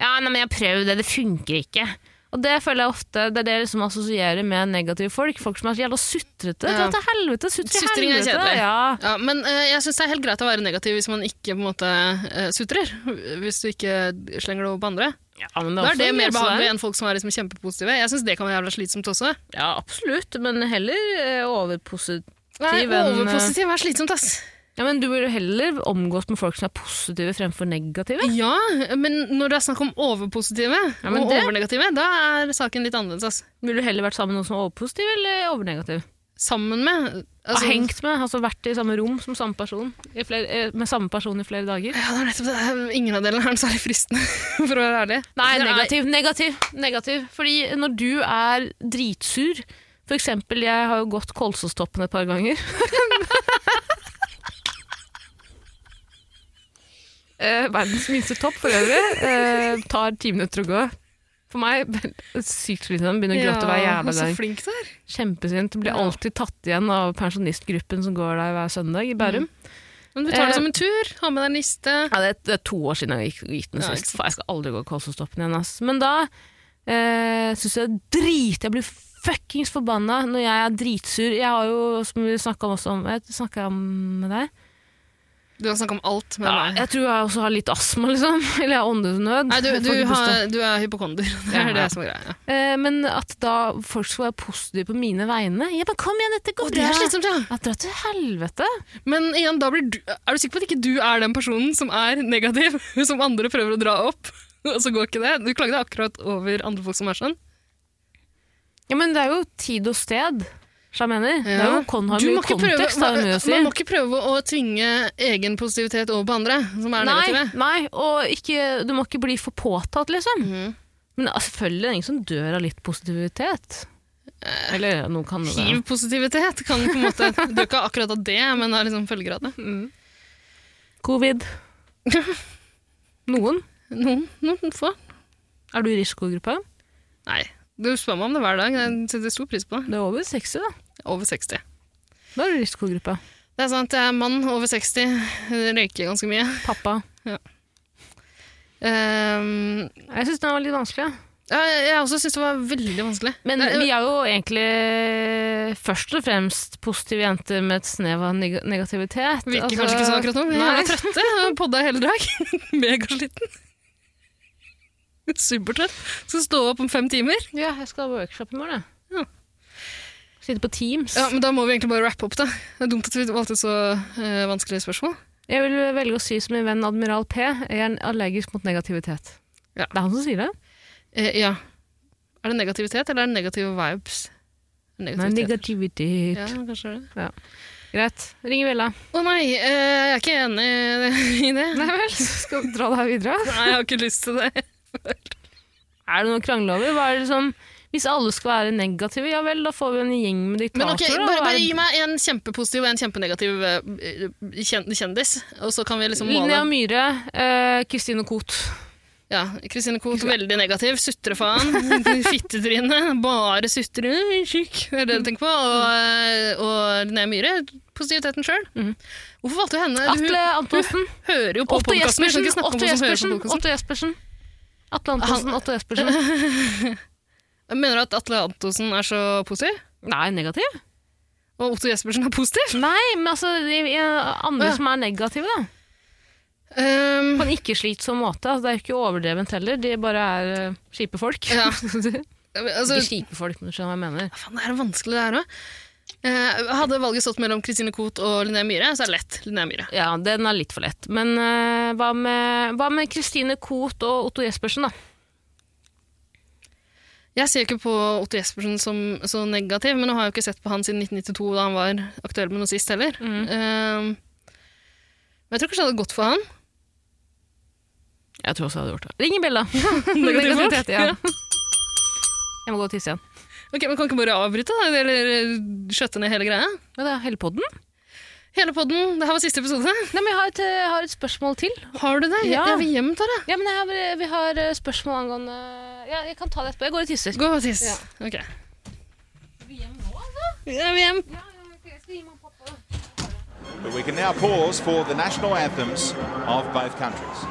Ja, nei, men jeg har prøvd det, det funker ikke. Og det føler jeg ofte, det er det jeg liksom assosierer med negative folk. Folk som er så jævla sutrete.
Ja.
Dra til helvete, sutre i
Sutring er
helvete.
kjedelig.
Ja.
Ja, men eh, jeg syns det er helt greit å være negativ hvis man ikke på en måte eh, sutrer. Hvis du ikke slenger det over på andre.
ja, men
Da er det mer behagelig
enn
enn folk som er liksom kjempepositive. Jeg syns det kan være jævla slitsomt også.
Ja, absolutt, men heller eh, overposit...
Nei,
Positiv enn, eh,
overpositiv er slitsomt, ass.
Ja, men du burde heller omgås med folk som er positive fremfor negative.
Ja, men når det er snakk om overpositive
Ja, men
og
det-
overnegative, da er saken litt annerledes, ass.
Ville du heller vært sammen med noen som er overpositiv eller overnegativ?
Sammen med
Altså,
altså,
hengt med, altså vært i samme rom som samme person, i flere, eh, med samme person i flere dager.
Ja, det er nettopp det. Ingen av delene er særlig fristende, for å være ærlig.
Nei,
Det er-
negativ, negativ, negativ. Fordi når du er dritsur For eksempel, jeg har jo gått Kolsåstoppen et par ganger. Eh, verdens minste topp for øvrig. Eh, tar ti minutter å gå. For meg sykt slitsomt. Begynner å gråte hver jævla
så
dag.
flink du er.
Kjempesynt. Blir alltid tatt igjen av pensjonistgruppen som går der hver søndag i Bærum.
Men du tar det
Eh,
som en tur, har med deg en liste.
Ja, det, er- det er to år siden jeg gikk, gikk den
Ja,
sist.
ikke sant.
Faen, jeg skal aldri gå Kolsåstoppen igjen. Ass. Men da eh, syns jeg det er drit Jeg blir fuckings forbanna når jeg er dritsur. Jeg har jo, som vi snakka om også om Jeg snakket om med deg.
Du har snakket om alt med
Ja,
meg.
jeg tror jeg også har litt astma, liksom. Eller jeg har åndenød.
Nei, du,
Jeg får
du,
ikke puste.
har, du er hypokonder. Det
Ja,
er
ja.
det som er greia. Ja.
eh, Men at da folk skal være positive på mine vegne Ja, men kom igjen, dette
Og
går
det er
bra!
slitsomt, ja.
Ja, dra til helvete!
Men igjen, da blir du, er du sikker på at ikke du er den personen som er negativ, som andre prøver å dra opp? Og så går ikke det. Du klager deg akkurat over andre folk som er sånn.
Ja, men det er jo tid og sted, som jeg mener. Det er
Ja.
jo kon har
Du må
mye
ikke prøve-
kontekst, har jo mye å si.
Man må ikke prøve å tvinge egen positivitet over på andre, som er
Nei,
negative.
nei og ikke, du må ikke bli for påtatt, liksom.
Mhm.
Men altså, selvfølgelig er det ingen som dør av litt positivitet. Eller noen kan jo det.
Eh, Hiv positivitet kan på en måte Du er ikke akkurat av det, men har liksom følger av det.
Covid. Noen.
Noen, noen få.
Er du i risikogruppa?
Nei. Du spør meg om det hver dag. Jeg setter stor pris på det.
Du er over 60, da.
Over 60.
Da er du i risikogruppa.
Det er sant, jeg er mann over 60, røyker ganske mye.
Pappa.
Ehm,
Jeg syns den var litt vanskelig. ja.
ja, jeg også syns det var veldig vanskelig.
Men
det,
vi er jo egentlig først og fremst positive jenter med et snev av neg negativitet.
virker
Altså-
kanskje ikke sånn akkurat nå. Vi
Nei.
er trøtte, har podda i hele dag. Megasliten. Supertrøtt. Skal stå opp om fem timer.
Ja, jeg skal ha workshop i morgen, jeg.
Ja.
Sitte på Teams.
Ja, men Da må vi egentlig bare rappe opp, da. Det er dumt at vi valgte så eh, vanskelige spørsmål.
Jeg vil velge å si som min venn Admiral P, jeg er allergisk mot negativitet.
Ja.
Det er han som sier det?
Eh, ja. Er det negativitet, eller er det negative vibes?
Nei, negativitet.
Ja, kanskje det.
Greit. Ring Vella.
Å nei, eh, jeg er ikke enig i det.
Nei vel, så skal vi dra det her videre.
Nei, jeg har ikke lyst til det.
Er det noe å krangle over? Hva er det som Hvis alle skal være negative, ja vel, da får vi en gjeng med
Men
diktatorer. da.
ok, bare,
Hva er
bare
det-
gi meg en kjempepositiv og en kjempenegativ eh, kjen- kjendis, og så kan vi liksom måle.
Linnea Myhre, eh, Kristine Koht.
Ja, Kristine Koht, veldig negativ, sutrefaen, fittetryne, bare sutter, øh, tjukk, det er det du tenker på. Og, eh, og Linnea Myhre, positiviteten sjøl.
Mhm.
Hvorfor valgte du henne? Hun
Atle Antonsen.
hører jo på
Otto
podkasten, jeg
Jespersen.
skal ikke snakke om
Otto
henne som hører
Jespersen.
på podcasten.
Otto Jespersen. Atle Antonsen, Otto Jespersen.
Jeg Mener du at Atle Antonsen er så positiv?
Nei, negativ?
Og Otto Jespersen er positiv?
Nei, men altså de- de andre
Å, ja.
som er negative, da.
Um,
på en ikke-slitsom måte. Altså, det er jo ikke overdrevent heller, de bare er eh, kjipe folk.
Ja.
ikke
altså,
kjipe folk, men du skjønner hva jeg mener.
Faen, det er vanskelig det her òg. hadde valget stått mellom Kristine Koht og Linnea Myhre, så er det lett Linnea Myhre.
Ja, den er litt for lett. Men eh, hva med- hva med Kristine Koht og Otto Jespersen, da?
Jeg ser jo ikke på Otto Jespersen som så negativ, men nå har jeg jo ikke sett på han siden 1992, da han var aktuell med noe sist heller.
Mm.
Eh, men jeg tror kanskje det hadde gått for han.
Jeg tror også jeg hadde gjort det. Ring i bjella!
Negativ folk.
Negativitet, ja. Jeg må gå og tisse igjen.
Ok, men Kan ikke bare avbryte, da? Eller eh, skjøtte ned hele greia?
Ja, det er hele podden.
Hele podden. Det her var siste episode.
Nei, men jeg har et, eh, jeg har et spørsmål til.
Har du det? Jeg,
Ja.
jeg vil hjem, Tara.
Ja, men jeg har, vi har eh, spørsmål angående Ja, jeg kan ta det etterpå. Jeg går og tisser.
Gå og tiss. Ok.
altså?
Jeg vil hjem.
But we can now pause for the national anthems of both countries.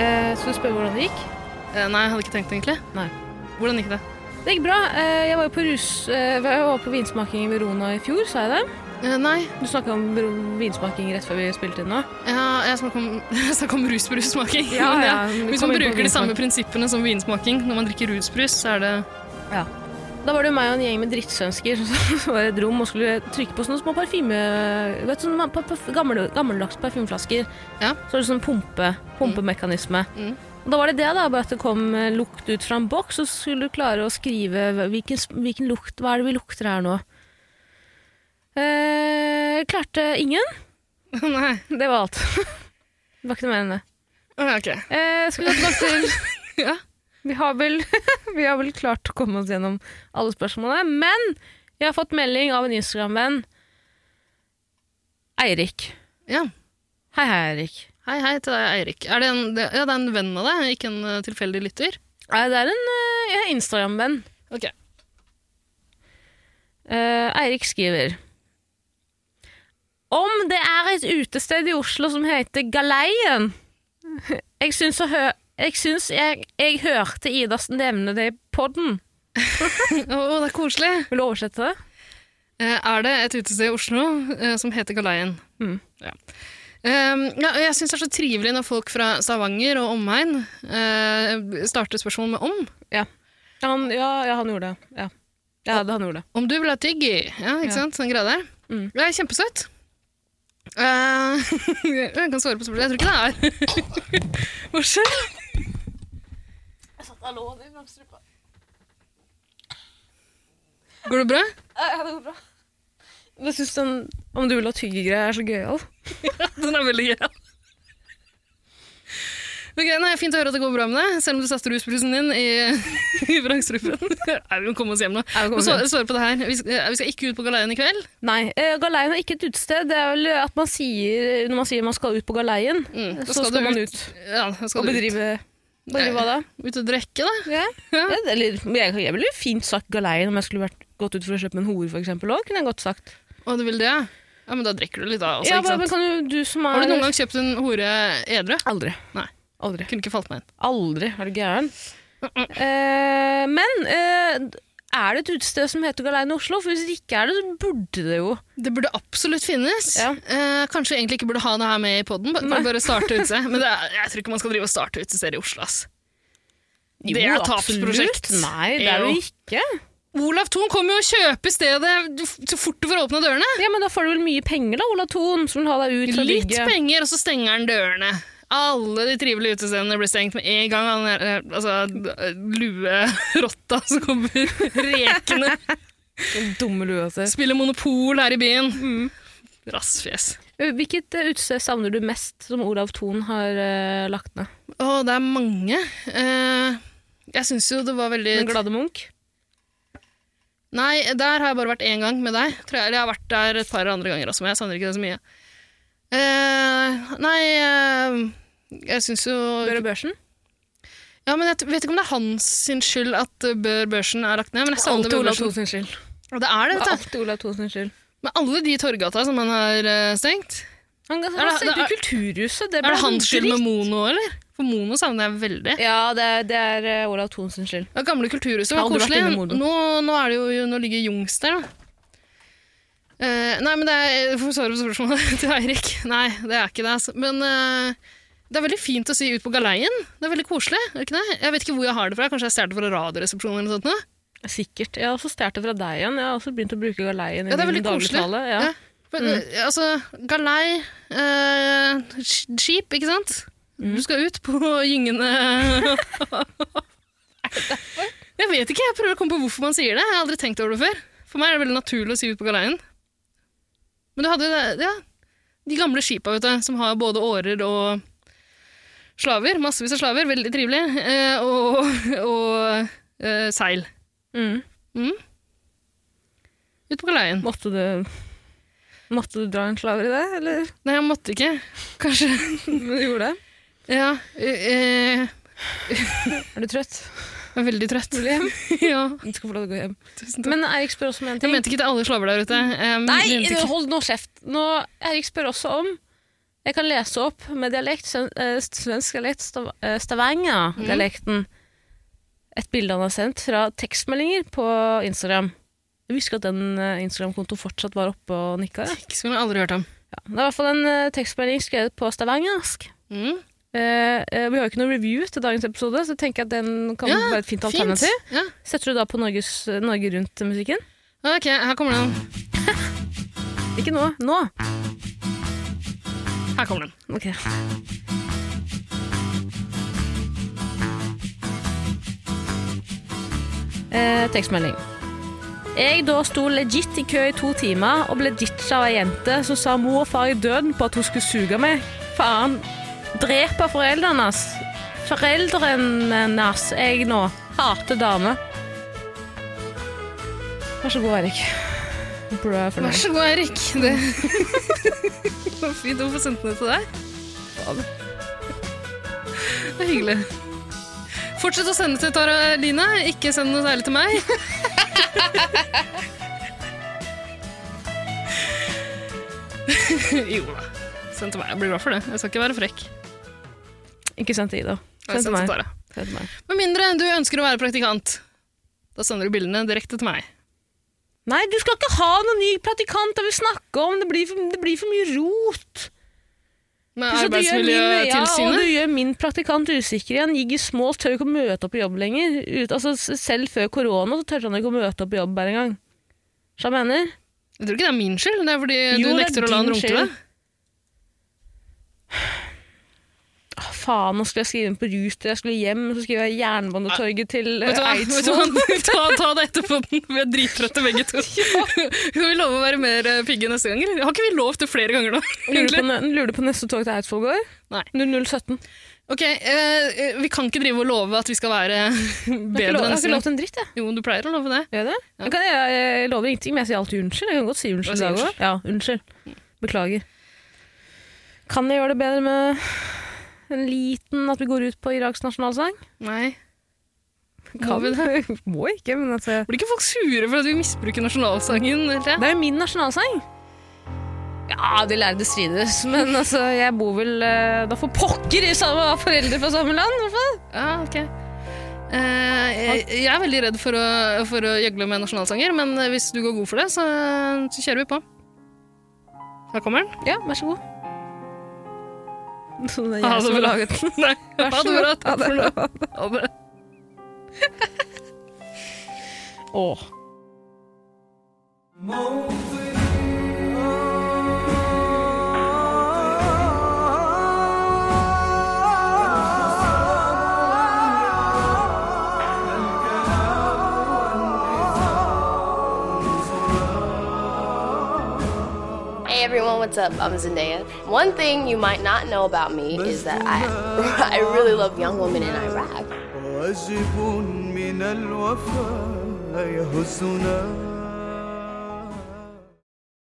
Eh, så du spør hvordan det gikk?
Eh, Nei, jeg hadde ikke tenkt det, egentlig.
Nei.
Hvordan gikk det?
Det gikk bra. Eh, jeg var jo på, rus, eh, jeg var på vinsmaking i Verona i fjor, sa jeg det?
Eh, Nei,
Du snakka om bro- vinsmaking rett før vi spilte inn nå.
ja, jeg snakka om, jeg snakket om rusbrussmaking.
Ja,
Men
ja, vi
Hvis
kom
man
inn på
bruker de samme
vinsmaking.
prinsippene som vinsmaking når man drikker rusbrus, så er det
Da var det jo meg og en gjeng med drittsvensker som var i et rom og skulle trykke på sånne små parfyme... Vet du, sånne pa- pa- gamle, gammeldags parfymeflasker.
Ja.
Så var det sånn pumpe, pumpemekanisme.
Mm.
Og da var det det, da. Bare at det kom eh, lukt ut fra en boks, og så skulle du klare å skrive hva- hvilken, s- hvilken lukt Hva er det vi lukter her nå? Eh, klarte ingen.
Nei.
Det var alt. det var ikke noe mer enn det.
Å, Ok.
Eh, skal vi gå tilbake til
Ja.
vi har, vel, vi har vel klart å komme oss gjennom alle spørsmålene, men jeg har fått melding av en Instagram-venn. Eirik.
ja.
Hei, hei, Eirik.
Hei, hei til deg, Eirik. Er det en, det, ja, det er en venn av deg, ikke en eh, tilfeldig lytter?
Nei, Det er en eh, Instagram-venn.
Ok.
Eh, Eirik skriver Om det er et utested i Oslo som heter Galeien Jeg syns å hø- jeg, syns jeg, jeg hørte Ida nevne det i podden.
Å, å, det er koselig.
Vil du oversette det?
Eh, Er det et utested i Oslo eh, som heter Galeien?
Mm.
Ja. Um, ja, og jeg syns det er så trivelig når folk fra Stavanger og omegn eh, starter spørsmål med om.
Han, ja, ja, han gjorde det. Ja, ja det, han gjorde det.
Om du vil ha tygg i. Ja, ikke
Ja.
sant? Sånn greie der.
Mm.
Det er kjempesøtt. Eh, jeg kan svare på spørsmålet. Jeg tror ikke det er Hva skjer? Går det bra?
Jeg syns den om du vil ha tyggegreier er så gøyal.
Den er veldig gøy. Ok, nei, Fint å høre at det går bra med deg, selv om du satte rusbrusen din i, i vrangstrupen. Nei, vi må komme oss hjem nå.
Ja, vi kommer
Og så, svare på det her. Vi skal, vi skal ikke ut på galeien i kveld.
Nei, eh, galeien er ikke et utested. Det er vel at man sier, når man sier man skal ut på galeien,
Mm, da
så
skal
skal,
du
man
ut.
ut
Ja, da skal
og
du ut.
bedrive Bedrive hva da?
ut og drikke, da.
Ja. Eller jeg, jeg ville jo fint sagt galeien om jeg skulle vært, gått ut for å kjøpe en hore, f.eks. òg. Kunne jeg godt sagt.
Å, du vil det? ja? Ja, men da drikker du litt da også,
ja,
Altså, ikke
men
sant?
kan jo du som er
Har du noen gang kjøpt en hore edru?
Aldri.
Nei.
Aldri.
Kunne ikke falt meg inn.
Aldri. Er du gæren? Eh, men eh, er det et utested som heter Galeien i Oslo? For hvis det ikke er det, så burde det jo
Det burde absolutt finnes.
Ja.
Eh, kanskje egentlig ikke burde ha det her med i poden. Bare, bare starte ute. Men det er, jeg tror ikke man skal drive og starte utesteder i Oslo. ass. Det er
Jo,
tapsprosjekt.
absolutt. Nei, det er det
Jo.
jo ikke.
Olav Thon kommer jo og kjøper stedet du- så fort du får åpna dørene.
Ja, men Da får du vel mye penger, da, Ola Thon, som vil ha deg ut fra
Litt
bygget.
penger, og så stenger han dørene. Alle de trivelige utestedene blir stengt med en gang. Han er, eh, altså, d- Luerotta som kommer rekende.
Dumme lua si.
Spiller Monopol her i byen. Rassfjes.
Hvilket eh, utested savner du mest som Olav Thon har eh, lagt ned?
Å, det er mange. Eh, jeg syns jo det var veldig
Den glade Munch?
Nei, der har jeg bare vært én gang med deg. Tror jeg. Eller jeg har vært der et par andre ganger også, men jeg savner ikke det så mye. Eh, nei, eh, jeg syns jo
Børre Børsen?
Ja, men jeg vet ikke om det er hans sin skyld at eh, Bør Børsen er lagt ned. Men jeg savner
Alltid
Bør
Olav
Børsen.
Thon sin skyld.
Og Det er det, vet du.
Alltid Olav Thon sin skyld.
Med alle de torggata som han har eh, stengt.
Han
Er det-
stengte
er-
jo Kulturhuset. Det
Er
ble
det hans skyld med
dritt.
Mono, eller? For Mono savner jeg veldig.
Ja, det er, det er eh, Olav Thon sin skyld.
Det gamle kulturhuset
Jeg har
var
aldri vært
koselig.
inne i Mono.
Nå, nå, er det jo, nå ligger Jungs der, da. Eh, nei, men det er For å svare på spørsmålet til Eirik. Nei, det er ikke det. Altså. Men eh, det er veldig fint å si ut på galeien. Det er veldig koselig. er det ikke det? Jeg vet ikke hvor jeg har det fra. Kanskje jeg stjal det fra Radioresepsjonen? eller noe sånt nå?
Sikkert. Jeg har også stjålet det fra deg igjen. Jeg har også begynt å bruke galeien i
Ja, det er
min
veldig koselig.
dagligtale. Ja.
Ja. Men, eh, altså, galei, eh, sk- skip, ikke sant? Du skal ut på gyngende Jeg vet ikke, jeg prøver å komme på hvorfor man sier det. Jeg har aldri tenkt over det før. For meg er det veldig naturlig å si ut på galeien. Men du hadde jo det, ja, de gamle skipa vet du, som har både årer og slaver. Massevis av slaver, veldig trivelig. eh, Og, og eh, seil.
Mm.
Ut på galeien.
Måtte du Måtte du dra en slaver i det, eller
Nei, jeg måtte ikke. Kanskje
Men du gjorde det?
Ja. eh, eh,
Er du trøtt?
Jeg er veldig trøtt. ja,
Du skal få lov til å gå hjem.
tusen takk.
Men Eirik spør også om en
Jeg
ting.
mente ikke til alle slaver der ute. Jeg
Nei,
mente ikke.
hold nå kjeft. Nå, Erik spør også om Jeg kan lese opp med dialekt, sen- eh, svensk dialekt, Stav- eh, Stavanger-dialekten. Et bilde han har sendt fra tekstmeldinger på Instagram. Jeg husker at den eh, Instagram-kontoen fortsatt var oppe og nikka. Ja.
Ikke som jeg aldri hørt om.
Ja, det er i hvert fall en eh, tekstmelding skrevet på stavangersk.
Mm.
Eh, eh, vi har jo ikke noen review til dagens episode, så jeg tenker at den kan
Ja,
være et fint alternativ.
Fint. Ja.
Setter du da på Norges, Norge Rundt-musikken?
Ok, her kommer den.
Ikke nå. Nå!
Her kommer den.
Ok. Eh, tekstmelding. Jeg da sto legit i kø i to timer og ble ditcha av ei jente som sa mor og far i døden på at hun skulle suge meg. Faen. Dreper foreldrene hans. Foreldrene hans, jeg nå. Hater damer. Vær så god, Erik. Bro, jeg er
Vær
fornøyd.
så god, Erik. Det Det var fint å få sendt den til deg. Det er hyggelig. Fortsett å sende til Tara Line. Ikke send noe særlig til meg. jo da. Send til meg. Jeg blir glad for det. Jeg skal ikke være frekk.
Ikke send til Ida. Send
Jeg
til
sender
meg.
Tara.
Send til meg.
Med mindre du ønsker å være praktikant. Da sender du bildene direkte til meg.
Nei, du skal ikke ha noen ny praktikant jeg vil snakke om. Det blir for, det blir for mye rot.
Med
Så du gjør min- Ja, og
Arbeidsmiljøtilsynet.
du gjør min praktikant usikker igjen. Gikk i små, tør ikke å møte opp på jobb lenger. Ut, altså, s- selv før korona så tørte han ikke å møte opp på jobb hver engang. Så jeg mener?
Jeg tror ikke det er min skyld. Det er fordi
Jo,
du
det er
nekter å la han
din
runke
skyld.
deg.
Å, ah, faen, nå skulle jeg skrive inn på Ruter, jeg skulle hjem, så skriver jeg Jernbanetorget til
Vet du hva?
eh,
Vet du hva?
Eidsvoll.
Ta, ta det etterpå. Vi er drittrøtte begge to. Kan vi love å være mer eh, pigge neste gang? eller? Har ikke vi lov til flere ganger nå?
Lurer du
egentlig?
på, nø- lurer du på neste tog til Eidsvoll går?
Nei.
0017.
Ok, eh, Vi kan ikke drive og love at vi skal være
Jeg har ikke
bedre
lov- jeg har
neste
ikke lov
gang.
til en dritt, jeg.
Jo, du pleier å love det.
Gjør jeg det? Jeg, kan, jeg, jeg lover ingenting, men jeg sier alltid unnskyld. Jeg kan godt si unnskyld i
Bare si
dag òg. Ja, unnskyld. Beklager. Kan jeg gjøre det bedre med en liten at vi går ut på Iraks nasjonalsang?
Nei.
Kan
vi
Må ikke, men altså
Blir ikke folk sure for at vi misbruker nasjonalsangen? Eller?
Det er jo min nasjonalsang! Ja, de lærde strides, men altså, jeg bor vel eh, da for pokker i samme av foreldre fra samme land, i hvert fall.
Ja, ok. Eh, jeg, jeg er veldig redd for å, for å gjøgle med nasjonalsanger, men hvis du går god for det, så, så kjører vi på. Her kommer den.
Ja, vær så god. Sånn er
Ha
jeg
det
som har
bra.
laget den.
Nei,
Vær
ha
så
det
god.
bra.
Ha
Takk for nå.
det bra.
Ha det.
Åh.
Hey everyone, what's up? I'm Zendaya. One thing you might not know about me is that I, I really love young women and I rap.
واجب من الوفاء يهزنا